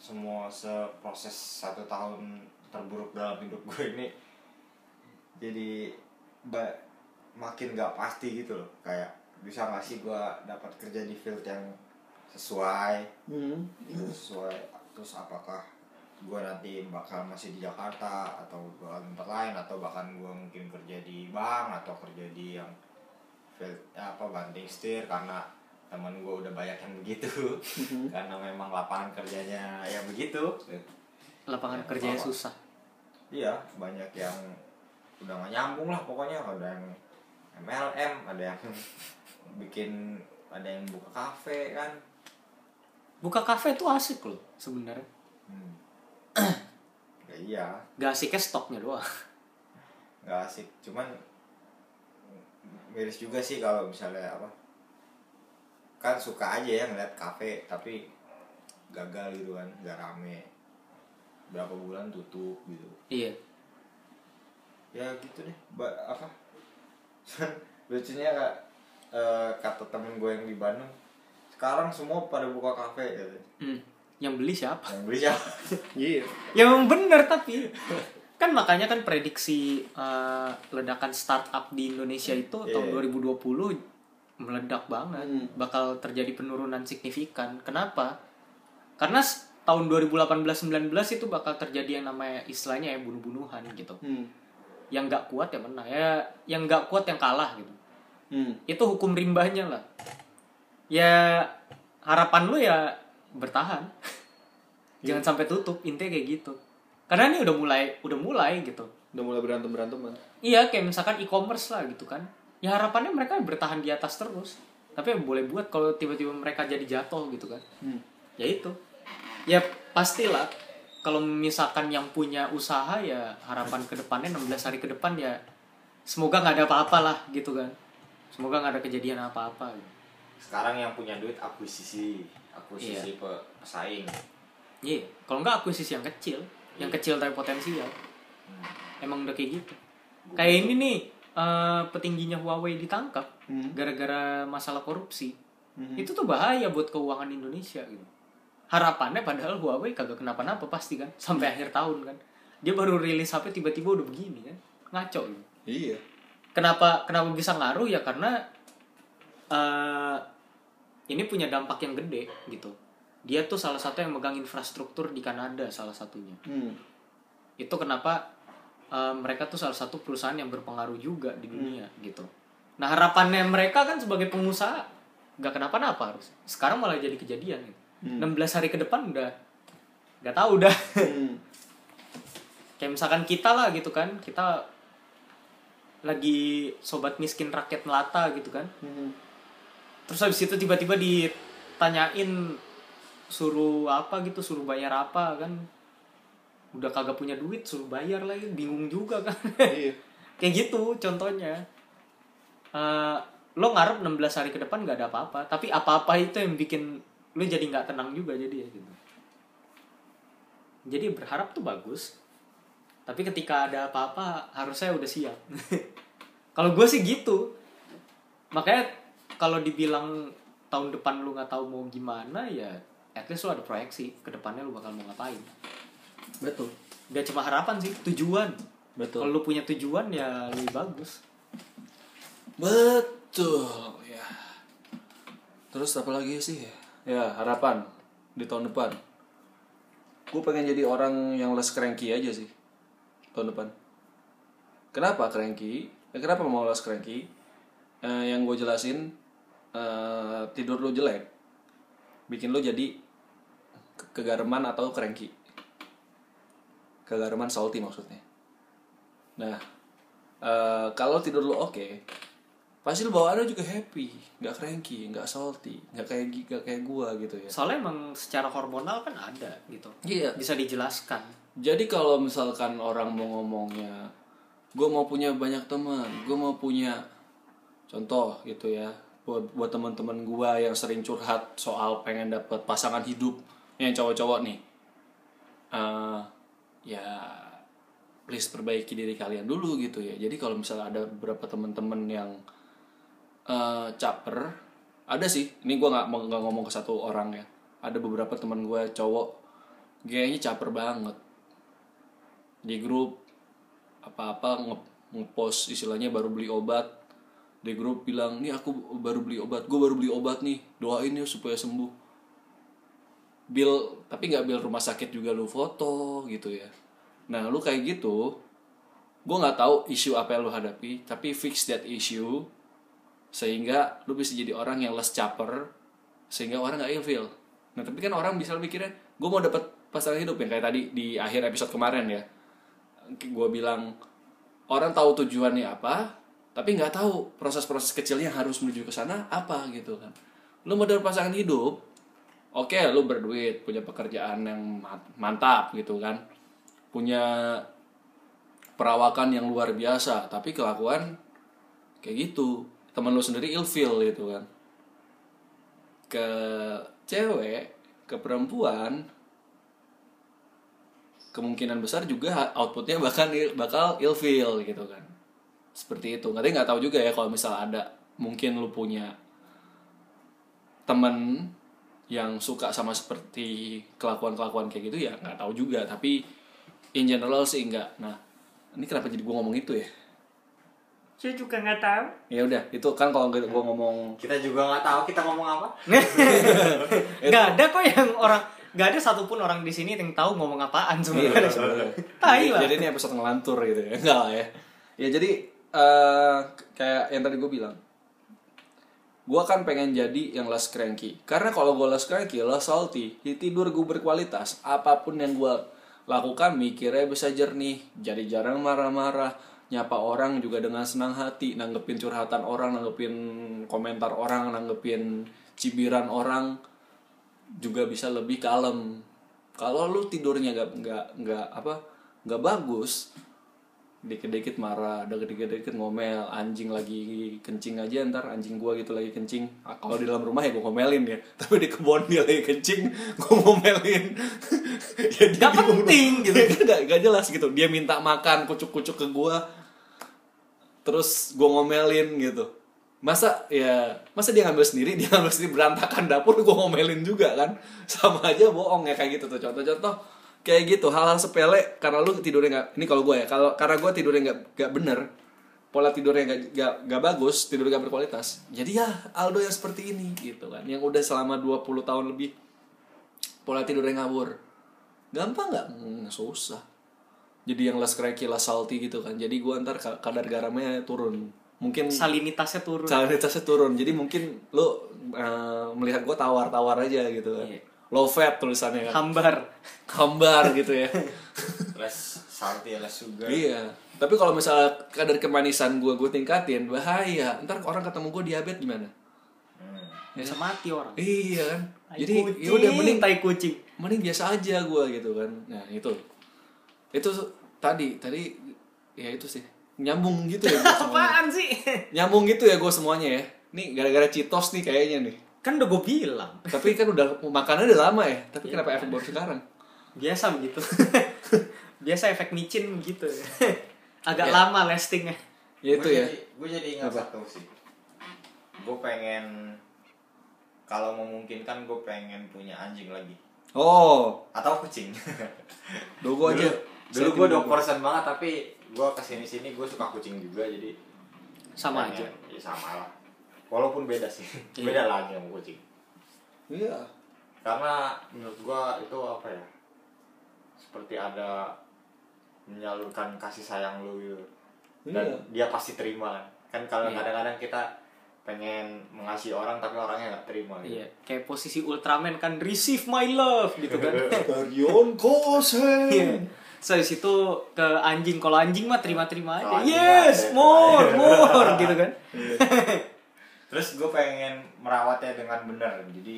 semua seproses satu tahun terburuk dalam hidup gue ini jadi ba- makin gak pasti gitu loh kayak bisa gak sih gue dapat kerja di field yang sesuai Hmm. itu sesuai terus apakah gue nanti bakal masih di Jakarta atau gue tempat lain atau bahkan gue mungkin kerja di bank atau kerja di yang field- apa banting setir karena teman gue udah banyak yang begitu karena memang lapangan kerjanya ya begitu lapangan Ya, kerjanya apa-apa. susah iya banyak yang udah gak nyambung lah pokoknya ada yang MLM ada yang [LAUGHS] bikin ada yang buka kafe kan buka kafe tuh asik loh sebenarnya hmm. [CLEARS THROAT] ya iya gak asiknya stoknya doang [LAUGHS] nggak asik cuman miris juga sih kalau misalnya apa kan suka aja ya ngeliat kafe tapi gagal gitu kan nggak rame berapa bulan tutup gitu iya ya gitu deh ba apa [LAUGHS] lucunya kak eh, kata temen gue yang di Bandung sekarang semua pada buka kafe gitu. Hmm. yang beli siapa yang beli siapa Iya. ya memang bener tapi kan makanya kan prediksi eh, ledakan startup di Indonesia itu tahun Iya. 2020 meledak banget Hmm. bakal terjadi penurunan signifikan kenapa karena s- tahun 2018-19 itu bakal terjadi yang namanya istilahnya ya bunuh-bunuhan gitu Hmm. yang nggak kuat yang menang ya yang nggak kuat yang kalah gitu Hmm. itu hukum rimbahnya lah ya harapan lu ya bertahan [LAUGHS] jangan sampai tutup intinya kayak gitu karena ini udah mulai udah mulai gitu Udah mulai berantem beranteman. iya kayak misalkan e-commerce lah gitu kan ya harapannya mereka bertahan di atas terus tapi yang boleh buat kalau tiba-tiba mereka jadi jatuh gitu kan Hmm. ya itu ya pastilah kalau misalkan yang punya usaha ya harapan ke depannya 16 hari ke depan ya semoga nggak ada apa-apa lah gitu kan semoga nggak ada kejadian apa-apa gitu. [LAUGHS] sekarang yang punya duit akuisisi akuisisi pesaing iya kalau nggak akuisisi yang kecil yang kecil tapi potensial emang udah kayak gitu kayak ini nih eh, petingginya Huawei ditangkap Hmm. gara-gara masalah korupsi Mhm. itu tuh bahaya buat keuangan Indonesia gitu harapannya padahal Huawei kagak kenapa-napa pasti kan sampai akhir tahun kan dia baru rilis HP tiba-tiba udah begini kan ngaco gitu. Iya. kenapa kenapa bisa ngaruh ya karena eh ini punya dampak yang gede gitu dia tuh salah satu yang megang infrastruktur di Kanada salah satunya Hmm. itu kenapa eh, mereka tuh salah satu perusahaan yang berpengaruh juga di dunia gitu nah harapannya mereka kan sebagai pengusaha nggak kenapa-napa harus sekarang malah jadi kejadian gitu. 16 hari ke depan udah nggak tahu udah [LAUGHS] Hmm. kayak misalkan kita lah gitu kan kita lagi sobat miskin rakyat melata gitu kan Hmm. terus habis itu tiba-tiba ditanyain suruh apa gitu suruh bayar apa kan udah kagak punya duit suruh bayar lagi bingung juga kan [LAUGHS] Iya. kayak gitu contohnya Eh, lo ngarep 16 hari ke depan nggak ada apa-apa tapi apa-apa itu yang bikin lo jadi nggak tenang juga jadi ya gitu jadi berharap tuh bagus tapi ketika ada apa-apa harusnya udah siap [LAUGHS] kalau gue sih gitu makanya kalau dibilang tahun depan lu nggak tahu mau gimana ya at least lu ada proyeksi ke depannya lu bakal mau ngapain Betul. gak cuma harapan sih tujuan Betul. kalau lu punya tujuan ya lebih bagus Betul ya. Terus apa lagi sih? Ya harapan di tahun depan. Gue pengen jadi orang yang less cranky aja sih tahun depan. Kenapa cranky? Ya, kenapa mau less cranky? Eh, yang gue jelasin eh, tidur lu jelek, bikin lu jadi ke- kegareman atau cranky. Kegareman salty maksudnya. Nah, eh, kalau tidur lu oke, pasti lu bawaannya juga happy, nggak cranky, nggak salty, nggak kayak gi- nggak kayak gua gitu ya. soalnya emang secara hormonal kan ada gitu Iya. bisa dijelaskan Jadi kalau misalkan orang mau ngomongnya gue mau punya banyak teman gue mau punya contoh gitu ya buat buat teman-teman gue yang sering curhat soal pengen dapat pasangan hidup yang cowok-cowok nih Eh, ya please perbaiki diri kalian dulu gitu ya jadi kalau misalnya ada beberapa teman-teman yang eh, caper ada sih ini gue nggak mau- nggak ngomong ke satu orang ya ada beberapa teman gue cowok kayaknya caper banget di grup apa-apa nge- ngepost istilahnya baru beli obat di grup bilang nih aku baru beli obat gue baru beli obat nih doain ya supaya sembuh bill tapi nggak bill rumah sakit juga lu foto gitu ya nah lu kayak gitu gue nggak tahu isu apa yang lu hadapi tapi fix that issue sehingga lu bisa jadi orang yang less caper sehingga orang nggak ilfil nah tapi kan orang bisa mikirnya gue mau dapat pasangan hidup yang kayak tadi di akhir episode kemarin ya gue bilang orang tahu tujuannya apa tapi nggak tahu proses-proses kecilnya harus menuju ke sana apa gitu kan lu mau dapat pasangan hidup oke lu berduit punya pekerjaan yang ma- mantap gitu kan punya perawakan yang luar biasa tapi kelakuan kayak gitu temen lu sendiri ilfil gitu kan ke cewek ke perempuan kemungkinan besar juga ha- outputnya bahkan il- bakal ilfil gitu kan seperti itu katanya nggak tahu juga ya kalau misal ada mungkin lu punya temen yang suka sama seperti kelakuan-kelakuan kayak gitu ya nggak tahu juga tapi in general sih enggak nah ini kenapa jadi gua ngomong itu ya Saya juga nggak tahu. ya udah itu kan kalau gue ngomong Kita juga nggak tahu kita ngomong apa. [LAUGHS] Nggak ada kok yang orang nggak ada satupun orang di sini yang tahu ngomong apaan Iya, sebenarnya. sebenarnya. Tai Jadi- lah. Jadi ini episode ngelantur gitu ya. [LAUGHS] Enggak lah ya. Ya jadi eh, kayak yang tadi gue bilang. Gue kan pengen jadi yang less cranky. Karena kalau gue less cranky, less salty, di tidur gue berkualitas, apapun yang gue lakukan mikirnya bisa jernih. Jadi jarang marah-marah, nyapa orang juga dengan senang hati, nanggepin curhatan orang, nanggepin komentar orang, nanggepin cibiran orang juga bisa lebih kalem kalau lu tidurnya nggak nggak nggak apa nggak bagus dikit-dikit marah dikit-dikit ngomel anjing lagi kencing aja ntar anjing gua gitu lagi kencing Ah, kalau di dalam rumah ya gua ngomelin ya [LAUGHS] tapi di kebun dia lagi kencing gua ngomelin [LAUGHS] jadi Nggak penting, gitu. [LAUGHS] gak, jelas gitu dia minta makan kucuk-kucuk ke gua terus gua ngomelin gitu masa ya masa dia ngambil sendiri [LAUGHS] dia ngambil sendiri berantakan dapur gua ngomelin juga kan sama aja bohong ya kayak gitu tuh contoh-contoh kayak gitu hal-hal sepele karena lu tidurnya nggak ini kalau gue ya kalau karena gue tidurnya nggak nggak bener pola tidurnya nggak nggak nggak bagus tidur nggak berkualitas jadi ya Aldo yang seperti ini gitu kan yang udah selama 20 tahun lebih pola tidurnya ngabur gampang nggak Hmm, susah jadi yang less cranky less salty gitu kan jadi gua ntar ka- kadar garamnya turun mungkin Salinitasnya turun. salinitasnya turun jadi mungkin lo eh, melihat gua tawar-tawar aja gitu kan Iya. low fat tulisannya kan Hambar. hambar gitu ya Les salty, les sugar. iya tapi kalau misalnya kadar kemanisan gua gue tingkatin bahaya ntar orang ketemu gua diabetes gimana Hmm. Bisa mati orang. iya kan Tai jadi kucing, ya udah mending tai kucing. mending biasa aja gue gitu kan nah itu itu su- tadi tadi ya itu sih nyambung gitu ya gua semuanya. [LAUGHS] Apaan sih? nyambung gitu ya gue semuanya ya nih gara-gara citos nih kayaknya nih Kan udah gue bilang. tapi kan udah makannya udah lama ya tapi Iya, kenapa efek baru sekarang Biasa begitu. Biasa efek micin gitu. Iya. begitu. Agak Ya. lama lastingnya. ya itu ya Gue jadi ingat Apa? satu sih. Gue pengen kalau memungkinkan gue pengen punya anjing lagi oh atau [LAUGHS] kucing. dogo aja Dulu gue dog person banget tapi gue kesini sini gue suka kucing juga jadi Sama pengen- aja. Ya sama lah. Walaupun beda sih. beda lagi sama kucing. iya Karena menurut gue itu apa ya? Seperti ada menyalurkan kasih sayang lu gitu. dan Iya. dia pasti terima kan kalau Iya. kadang-kadang kita pengen mengasihi orang tapi orangnya nggak terima gitu. Iya, kayak posisi Ultraman kan receive my love gitu kan. [LAUGHS] Tarion Iya. Kosen So dari situ ke anjing kalau anjing mah terima-terima aja. Kalau anjing yes, mah, more, terima. more gitu kan. terus gue pengen merawatnya dengan benar jadi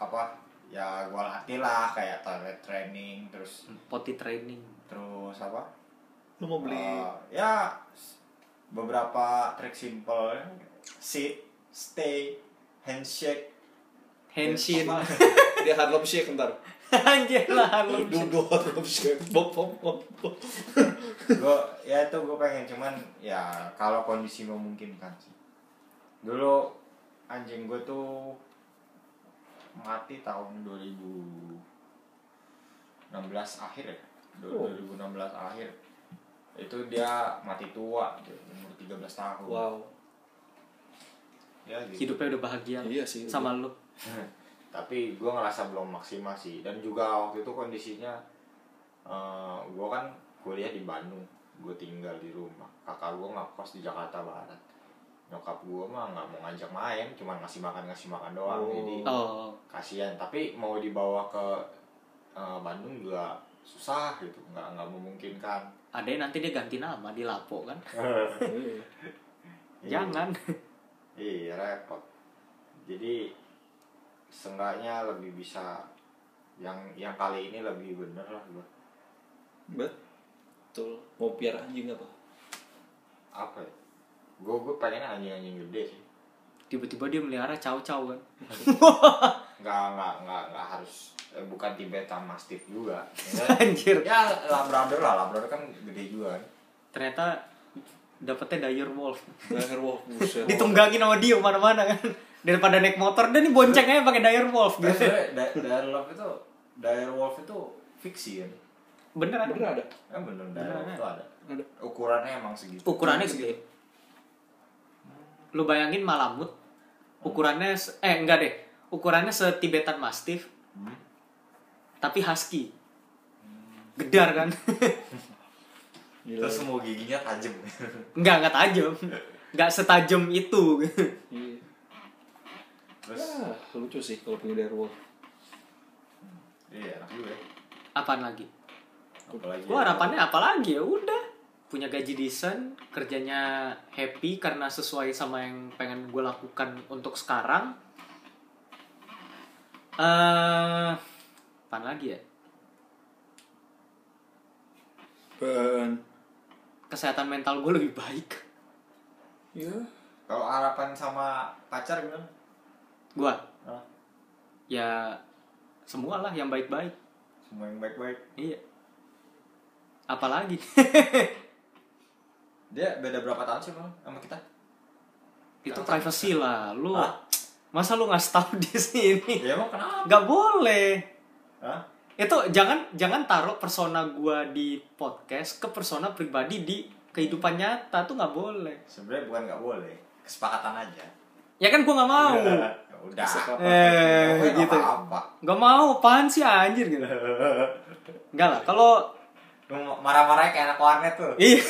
apa ya gue latih lah kayak toilet training terus Potty training. terus apa lu mau beli Eh, ya s- beberapa trik simple sit stay handshake Henshin. Dia Harlem Shake ntar. [LAUGHS] Anjir lah lu. Duduk Harlem Shake. Bop bop bop. bop. gue ya itu gue pengen cuman ya kalau kondisi memungkinkan sih dulu anjing gue tuh mati tahun 2016 akhir ya Du- Oh. 2016 akhir itu dia mati tua gitu, umur 13 tahun Wow. ya, gitu. Hidupnya udah bahagia Iya sih. sama lu. tapi gue ngerasa belum maksimal sih dan juga waktu itu kondisinya eh gue kan kuliah di Bandung gue tinggal di rumah kakak gue nggak kos di Jakarta Barat nyokap gue mah nggak mau ngajak main cuman ngasih makan ngasih makan doang Oh. jadi Oh, kasihan tapi mau dibawa ke eh, Bandung juga susah gitu nggak nggak memungkinkan ada yang nanti dia ganti nama di Lapo kan. Iya. Jangan. Iya repot. Jadi seenggaknya lebih bisa yang yang kali ini lebih bener lah gua. Betul. Mau biar anjing apa? Apa ya? Gue gue pengen anjing-anjing gede sih. Tiba-tiba dia melihara cau-cau kan. [LAUGHS] Nggak nggak nggak nggak harus eh, bukan Tibetan Mastiff juga. Ya, Anjir. ya Labrador lah, Labrador kan gede juga kan. Ternyata dapetnya dire wolf. Lahir wah buset. Ditunggangin sama dia mana-mana kan. Daripada naik motor dia nih boncengnya pakai dire wolf gitu. Tapi sebenarnya da- Direwolf itu Direwolf itu fiksi kan. Beneran. Bener ada. Ya bener Direwolf Beneran. itu ada. Ada. Ukurannya emang segitu. ukurannya gede lu bayangin malamut ukurannya se- eh enggak deh ukurannya setibetan mastiff Hmm. tapi husky gedar kan [LAUGHS] Gila. Terus semua giginya tajam. [LAUGHS] enggak enggak tajam enggak setajam itu [LAUGHS] Iya. Terus Ah, lucu sih kalau punya dari wah. iya enak juga. ya. apaan lagi Apalagi gua harapannya apa lagi ya udah punya gaji decent kerjanya happy karena sesuai sama yang pengen gue lakukan untuk sekarang eh apaan lagi ya Ben. kesehatan mental gue lebih baik Iya. Kalau harapan sama pacar gimana? gue Hah? ya semualah yang baik-baik Semua yang baik-baik. iya apalagi [LAUGHS] Dia beda berapa tahun sih Bang, sama kita? itu Jangan. privacy lah lu Hah? masa lu ngasih tahu di sini Ya emang kenapa? nggak boleh Hah? itu jangan jangan taruh persona gua di podcast ke persona pribadi di kehidupan nyata tuh nggak boleh Sebenarnya bukan nggak boleh, kesepakatan aja. ya kan gua nggak mau Ya Udah. Kesepakatan. eh Pokoknya nggak gitu Apa? nggak mau apaan sih anjir gitu nggak lah kalau Lu mau marah-marahnya kayak anak warnet tuh. iya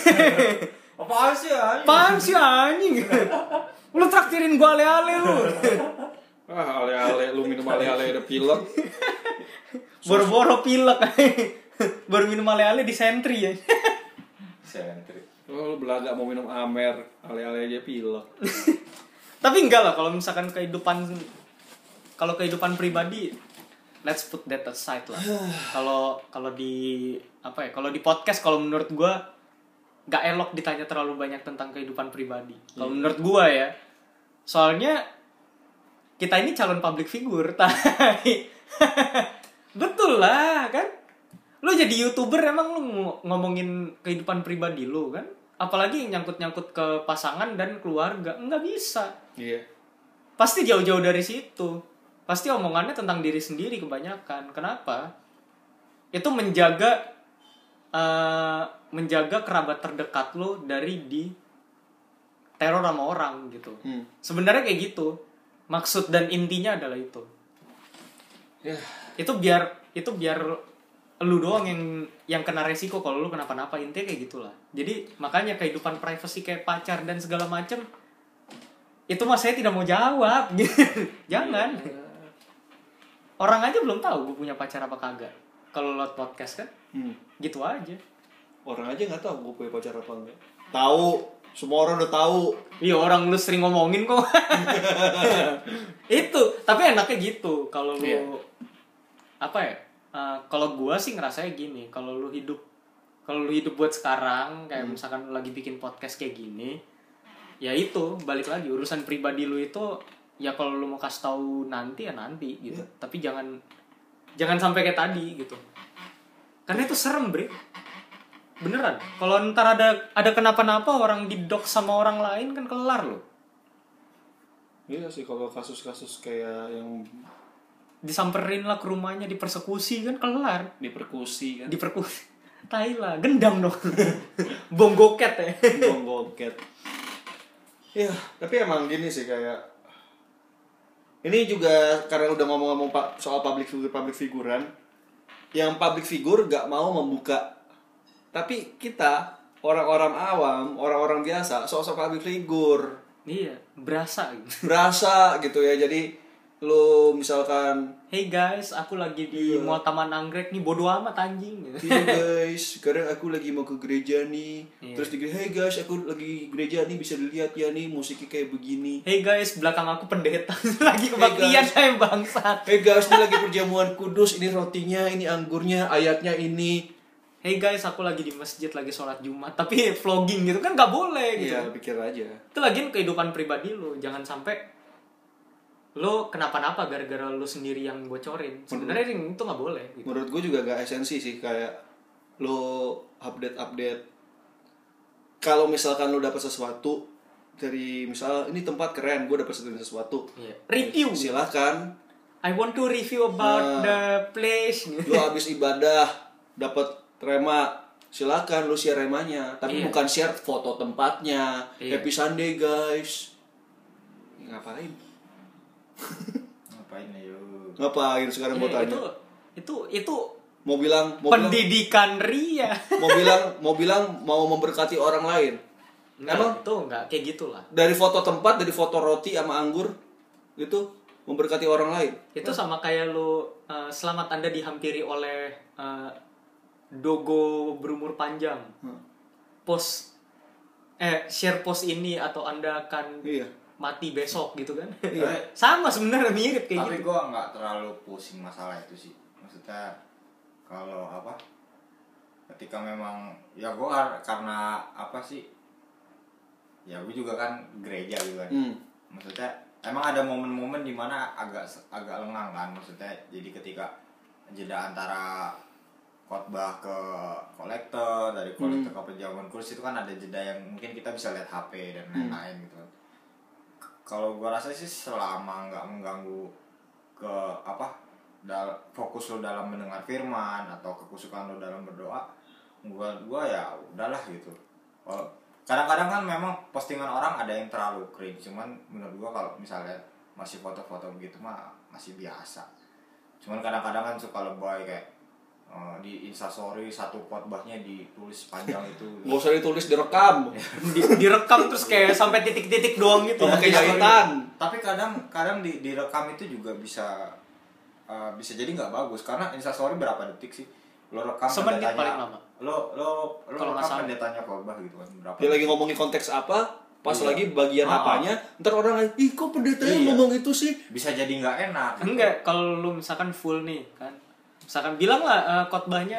[LAUGHS] Apaan sih ya? apaan sih anjing lu traktirin gua ale-ale lu Ah, ale-ale lu minum ale-ale ada pilek. Boro-boro pilek [LAUGHS] Baru minum ale-ale di sentri ya Sentri. Oh, lu belaga mau minum amer, ale-ale aja pilek. Tapi enggak lah kalau misalkan kehidupan Kalau kehidupan pribadi Let's put that aside lah Kalau kalau di apa ya kalau di podcast kalau menurut gua nggak elok ditanya terlalu banyak tentang kehidupan pribadi kalau menurut gua ya soalnya kita ini calon public figure [LAUGHS] tai betul lah kan lu jadi youtuber emang lu ngo- ngomongin kehidupan pribadi lu kan apalagi nyangkut-nyangkut ke pasangan dan keluarga nggak bisa Iya. pasti jauh-jauh dari situ pasti omongannya tentang diri sendiri kebanyakan kenapa itu menjaga eh, menjaga kerabat terdekat lo dari di teror sama orang gitu Hmm. sebenarnya kayak gitu maksud dan intinya adalah itu Ya, itu biar itu biar lu doang yang yang kena resiko kalau lu kenapa-napa intinya kayak gitulah jadi makanya kehidupan privacy kayak pacar dan segala macem itu mas saya tidak mau jawab [LAUGHS] jangan orang aja belum tahu gue punya pacar apa kagak kalau lo podcast kan Hmm. gitu aja Orang aja nggak tahu gue punya pacar apa enggak. Tahu, semua orang udah tahu. iya orang lu sering ngomongin kok [LAUGHS] itu tapi enaknya gitu kalau lu Eh, Iya. apa ya uh, kalau gua sih ngerasanya gini kalau lu hidup kalau lu hidup buat sekarang kayak misalkan lu lagi bikin podcast kayak gini ya itu balik lagi urusan pribadi lu itu ya kalau lu mau kasih tahu nanti ya nanti gitu tapi jangan jangan sampai kayak tadi gitu karena itu serem bre beneran kalau ntar ada ada kenapa-napa orang didok sama orang lain kan kelar lo Iya sih kalau kasus-kasus kayak yang disamperin lah ke rumahnya dipersekusi kan kelar diperkusi kan [LAUGHS] diperkusi Thailand gendam dong [LAUGHS] bom goket ya [LAUGHS] bom goket. Ya, tapi emang gini sih kayak ini juga karena udah ngomong-ngomong pa- soal public figure public figuran yang public figure gak mau membuka tapi kita orang-orang awam orang-orang biasa sosok public figure iya berasa gitu berasa gitu ya jadi lu misalkan hey guys aku lagi di mau taman anggrek nih bodo amat anjing [LAUGHS] gitu. Iya guys, sekarang aku lagi mau ke gereja nih. Terus di gereja, hey guys, aku lagi gereja nih bisa dilihat ya nih musiknya kayak begini. hey guys belakang aku pendeta [LAUGHS] lagi kebaktian saya bangsat Hey guys, ini lagi perjamuan kudus, ini rotinya, ini anggurnya, ayatnya ini. hey guys aku lagi di masjid lagi sholat jumat tapi vlogging gitu kan nggak boleh gitu Iya, pikir aja. itu lagian kehidupan pribadi lo jangan sampai lo kenapa-napa gara-gara lo sendiri yang bocorin Hmm. sebenarnya yang itu nggak boleh gitu. Menurut gue juga gak esensi sih kayak lo update-update. Kalau misalkan lo dapat sesuatu dari misal ini tempat keren, gue dapat sesuatu. Iya. review Silakan I want to review about Nah. the place lu habis ibadah dapat rema silakan lu share remanya tapi Iya. bukan share foto tempatnya Iya. happy Sunday guys ngapain Ngapain ya yuk? ngapain sekarang mau Iya, tanya itu itu itu mau bilang mau bilang pendidikan ria mau bilang mau bilang mau memberkati orang lain emang tuh nggak kayak gitulah dari foto tempat dari foto roti sama anggur gitu memberkati orang lain itu sama kayak lo uh, selamat anda dihampiri oleh uh, dogo berumur panjang post eh share post ini atau anda akan iya mati besok gitu kan Iya. [LAUGHS] sama sebenarnya mirip kayak tapi gitu gue nggak terlalu pusing masalah itu sih maksudnya kalau apa ketika memang ya gue karena apa sih ya gue juga kan gereja gitu kan Hmm. maksudnya emang ada momen-momen dimana agak agak lengang kan maksudnya jadi ketika jeda antara khotbah ke kolektor dari kolektor ke penjamuan kursi itu kan ada jeda yang mungkin kita bisa lihat HP dan lain-lain gitu kan kalau gua rasa sih selama nggak mengganggu ke apa dal- fokus lo dalam mendengar firman atau kekusukan lo dalam berdoa gua gua ya udahlah gitu Kalau- kadang-kadang kan memang postingan orang ada yang terlalu cringe cuman menurut gua kalau misalnya masih foto-foto begitu mah masih biasa cuman kadang-kadang kan suka lebay kayak eh, di instastory satu khotbahnya ditulis panjang itu nggak usah ditulis direkam Di- direkam terus kayak sampai titik-titik doang gitu Iya, Kayak iya. gitu. jahitan. tapi kadang kadang di direkam itu juga bisa uh, bisa jadi nggak bagus karena instastory berapa detik sih lo rekam Semenit pendetanya- paling lama. lo lo lo Kalau nggak rekam salah. pendetanya khotbah gitu kan berapa dia lagi ngomongin konteks apa pas lagi bagian Ah. apanya ntar orang lagi ih kok pendetanya Iya. ngomong itu sih bisa jadi nggak enak gitu. enggak kalau lu misalkan full nih kan misalkan bilang lah eh, khotbahnya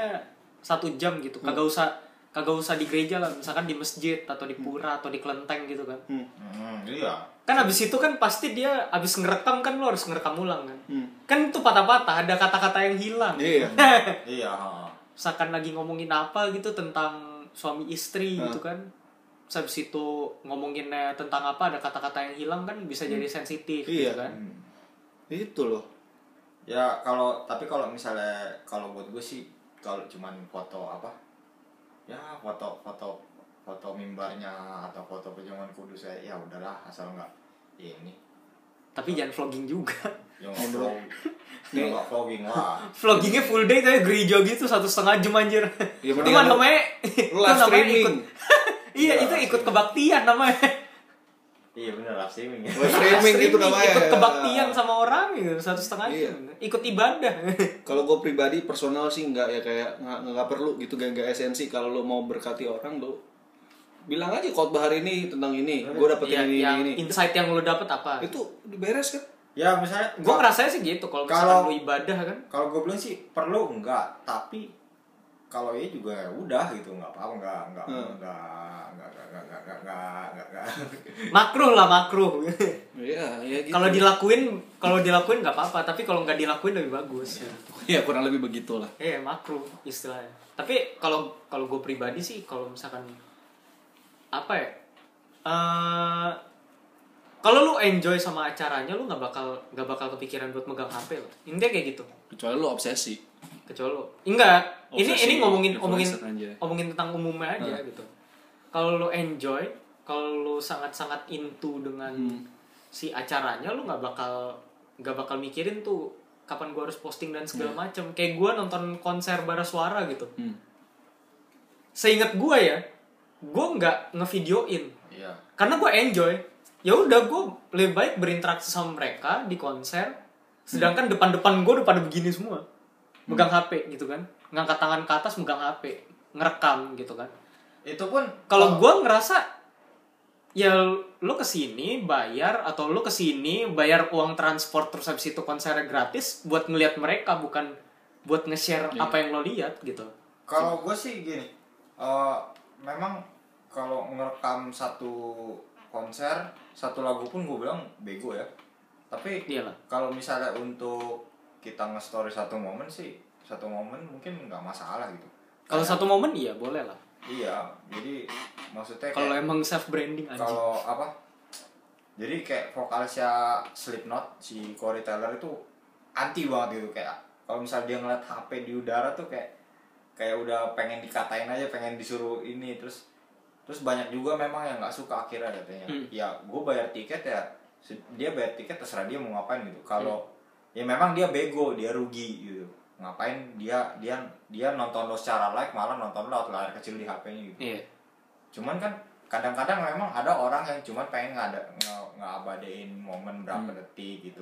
satu jam gitu Hmm. kagak usah kagak usah di gereja lah misalkan di masjid atau Hmm. di pura atau di kelenteng gitu kan Hmm, iya kan abis itu kan pasti dia abis ngerekam kan lu harus ngerekam ulang kan Hmm. kan itu patah-patah ada kata-kata yang hilang Iya. Eh. iya ha. misalkan lagi ngomongin apa gitu tentang suami istri Nah. gitu kan Terus habis itu ngomonginnya tentang apa ada kata-kata yang hilang kan bisa jadi sensitif Iya. gitu kan Hmm. itu loh ya kalau tapi kalau misalnya kalau buat gue sih kalau cuman foto apa ya foto foto foto mimbarnya atau foto pejamuan kudus ya ya udahlah asal nggak ini tapi jangan vlogging juga [LAUGHS] yang nggak vlog- yang nggak vlogging lah vloggingnya full day tapi gereja gitu satu setengah jam anjir [LAUGHS] Ya, itu mendingan mah lu- namanya lu [LAUGHS] itu live namanya streaming. ikut- iya Iya, itu live ikut streaming. kebaktian namanya Iya bener live streaming ya. Live streaming itu namanya ikut ya. kebaktian sama orang gitu satu setengah Iya. jam ikut ibadah [LAUGHS] kalau gue pribadi personal sih nggak ya kayak nggak nggak perlu gitu gak nggak esensi kalau lo mau berkati orang lo bilang aja khotbah hari ini tentang ini gue dapetin Iya, ini yang ini ini insight yang lu dapet apa itu diberes kan Ya misalnya gue ngerasanya sih gitu kalau misalkan Kalau- lu ibadah kan kalau gue bilang sih perlu enggak tapi kalau ini juga ya udah gitu nggak apa-apa nggak nggak Hmm. nggak nggak nggak nggak nggak nggak nggak nggak makruh lah makruh Iya, ya gitu. kalau dilakuin kalau dilakuin nggak apa-apa tapi kalau nggak dilakuin lebih bagus [LAUGHS] ya kurang lebih begitulah. Iya makruh istilahnya. Tapi kalau kalau gue pribadi sih kalau misalkan apa ya? eh kalau lu enjoy sama acaranya lu nggak bakal nggak bakal kepikiran buat megang HP lo. Intinya kayak gitu. Kecuali lu obsesi. Kecuali lu enggak. Ini Obsesi ini ngomongin ngomongin Oh, influencer aja. ngomongin tentang umumnya aja gitu. Kalau lu enjoy, kalau lu sangat-sangat into dengan Hmm. si acaranya lu nggak bakal nggak bakal mikirin tuh kapan gua harus posting dan segala macem kayak gua nonton konser bara suara gitu Iya. Hmm. seingat gua ya gua nggak ngevideoin iya karena gua enjoy ya udah gua lebih baik berinteraksi sama mereka di konser sedangkan Hmm. depan-depan gua udah pada begini semua megang HP gitu kan ngangkat tangan ke atas megang HP ngerekam gitu kan itu pun kalau gua ngerasa ya lo kesini bayar atau lo kesini bayar uang transport terus habis itu konsernya gratis buat ngelihat mereka bukan buat nge-share Iya. apa yang lo lihat gitu Kalau gue sih gini, eh, memang kalau ngerekam satu konser, satu lagu pun gue bilang bego ya. Tapi Iyalah. kalau misalnya untuk kita nge-story satu momen sih, satu momen mungkin nggak masalah gitu. kalau satu momen iya boleh lah Iya, jadi maksudnya kalau kayak- emang self branding aja kalau apa? Jadi kayak vokalisnya Slipknot si Corey Taylor itu anti banget gitu kayak kalau misalnya dia ngeliat HP di udara tuh kayak kayak udah pengen dikatain aja, pengen disuruh ini terus terus banyak juga memang yang nggak suka akhirnya katanya. Hmm. Ya gue bayar tiket ya se- dia bayar tiket terserah dia mau ngapain gitu. Hmm. Kalau ya memang dia bego, dia rugi gitu. Ngapain dia dia dia nonton lo secara live malah nonton lo out layar kecil di HP-nya gitu iya cuman kan kadang-kadang memang ada orang yang cuman pengen ngada nge ngabadein momen berapa detik gitu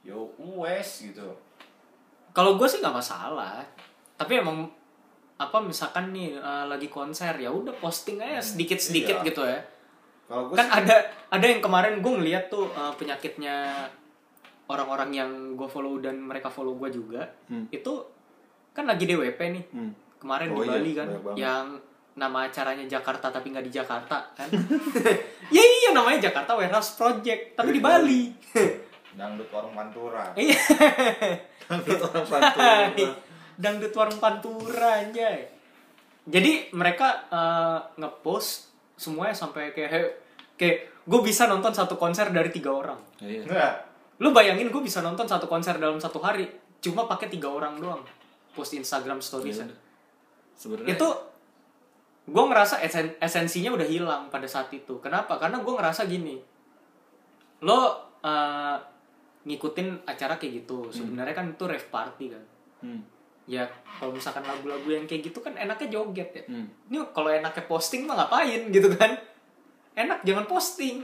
yo wes gitu kalau gue sih nggak masalah tapi emang apa misalkan nih eh, lagi konser ya udah posting aja Hmm, sedikit sedikit iya. gitu ya kalau gue kan ada ada yang kemarin gue ngeliat tuh uh, penyakitnya orang-orang yang gue follow dan mereka follow gue juga itu kan lagi DWP nih Hmm. kemarin Oh di iya, Bali kan banyak banget. yang nama acaranya Jakarta tapi nggak di Jakarta kan [LAUGHS] ya iya namanya Jakarta Warehouse Project tapi di Bali [LAUGHS] dangdut warung pantura iya orang pantura. [LAUGHS] gitu. dangdut warung pantura anjay jadi mereka eh, ngepost semuanya sampai kayak "Hey, kayak gue bisa nonton satu konser dari tiga orang [LAUGHS] Iya. Nggak. lu bayangin gue bisa nonton satu konser dalam satu hari cuma pakai tiga orang doang post Instagram stories Iya. Sebenarnya itu gue ngerasa esen- esensinya udah hilang pada saat itu kenapa karena gue ngerasa gini lo eh, ngikutin acara kayak gitu sebenarnya kan itu rave party kan Hmm. ya kalau misalkan lagu-lagu yang kayak gitu kan enaknya joget ya Hmm. ini kalau enaknya posting mah ngapain gitu kan enak jangan posting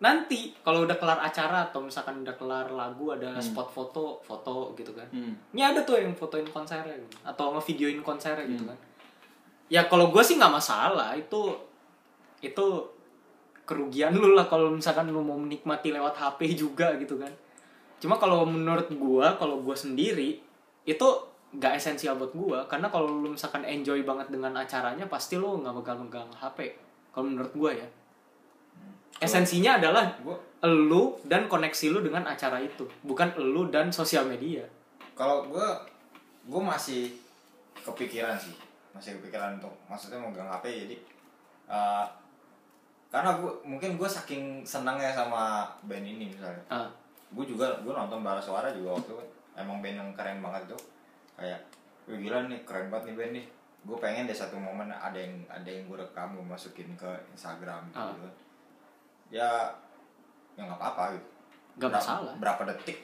nanti kalau udah kelar acara atau misalkan udah kelar lagu ada spot foto foto gitu kan Hmm. ini ada tuh yang fotoin konsernya gitu. atau ngevideoin konsernya gitu kan ya kalau gue sih nggak masalah itu itu kerugian lu lah kalau misalkan lu mau menikmati lewat HP juga gitu kan cuma kalau menurut gue kalau gue sendiri itu nggak esensial buat gue karena kalau lu misalkan enjoy banget dengan acaranya pasti lu nggak megang-megang HP kalau menurut gue ya esensinya adalah Gua- lu dan koneksi lu dengan acara itu bukan lu dan sosial media kalau gue gue masih kepikiran sih masih kepikiran untuk maksudnya megang HP ya, jadi eh, karena gue mungkin gue saking senangnya sama band ini misalnya Ah. gue juga gue nonton bara suara juga waktu itu emang band yang keren banget tuh kayak "Wih, gila nih keren banget nih band nih gue pengen deh satu momen ada yang ada yang gue rekam gue masukin ke Instagram gitu, Ah. gitu. ya ya nggak apa-apa gitu Nggak Berapa- masalah. berapa detik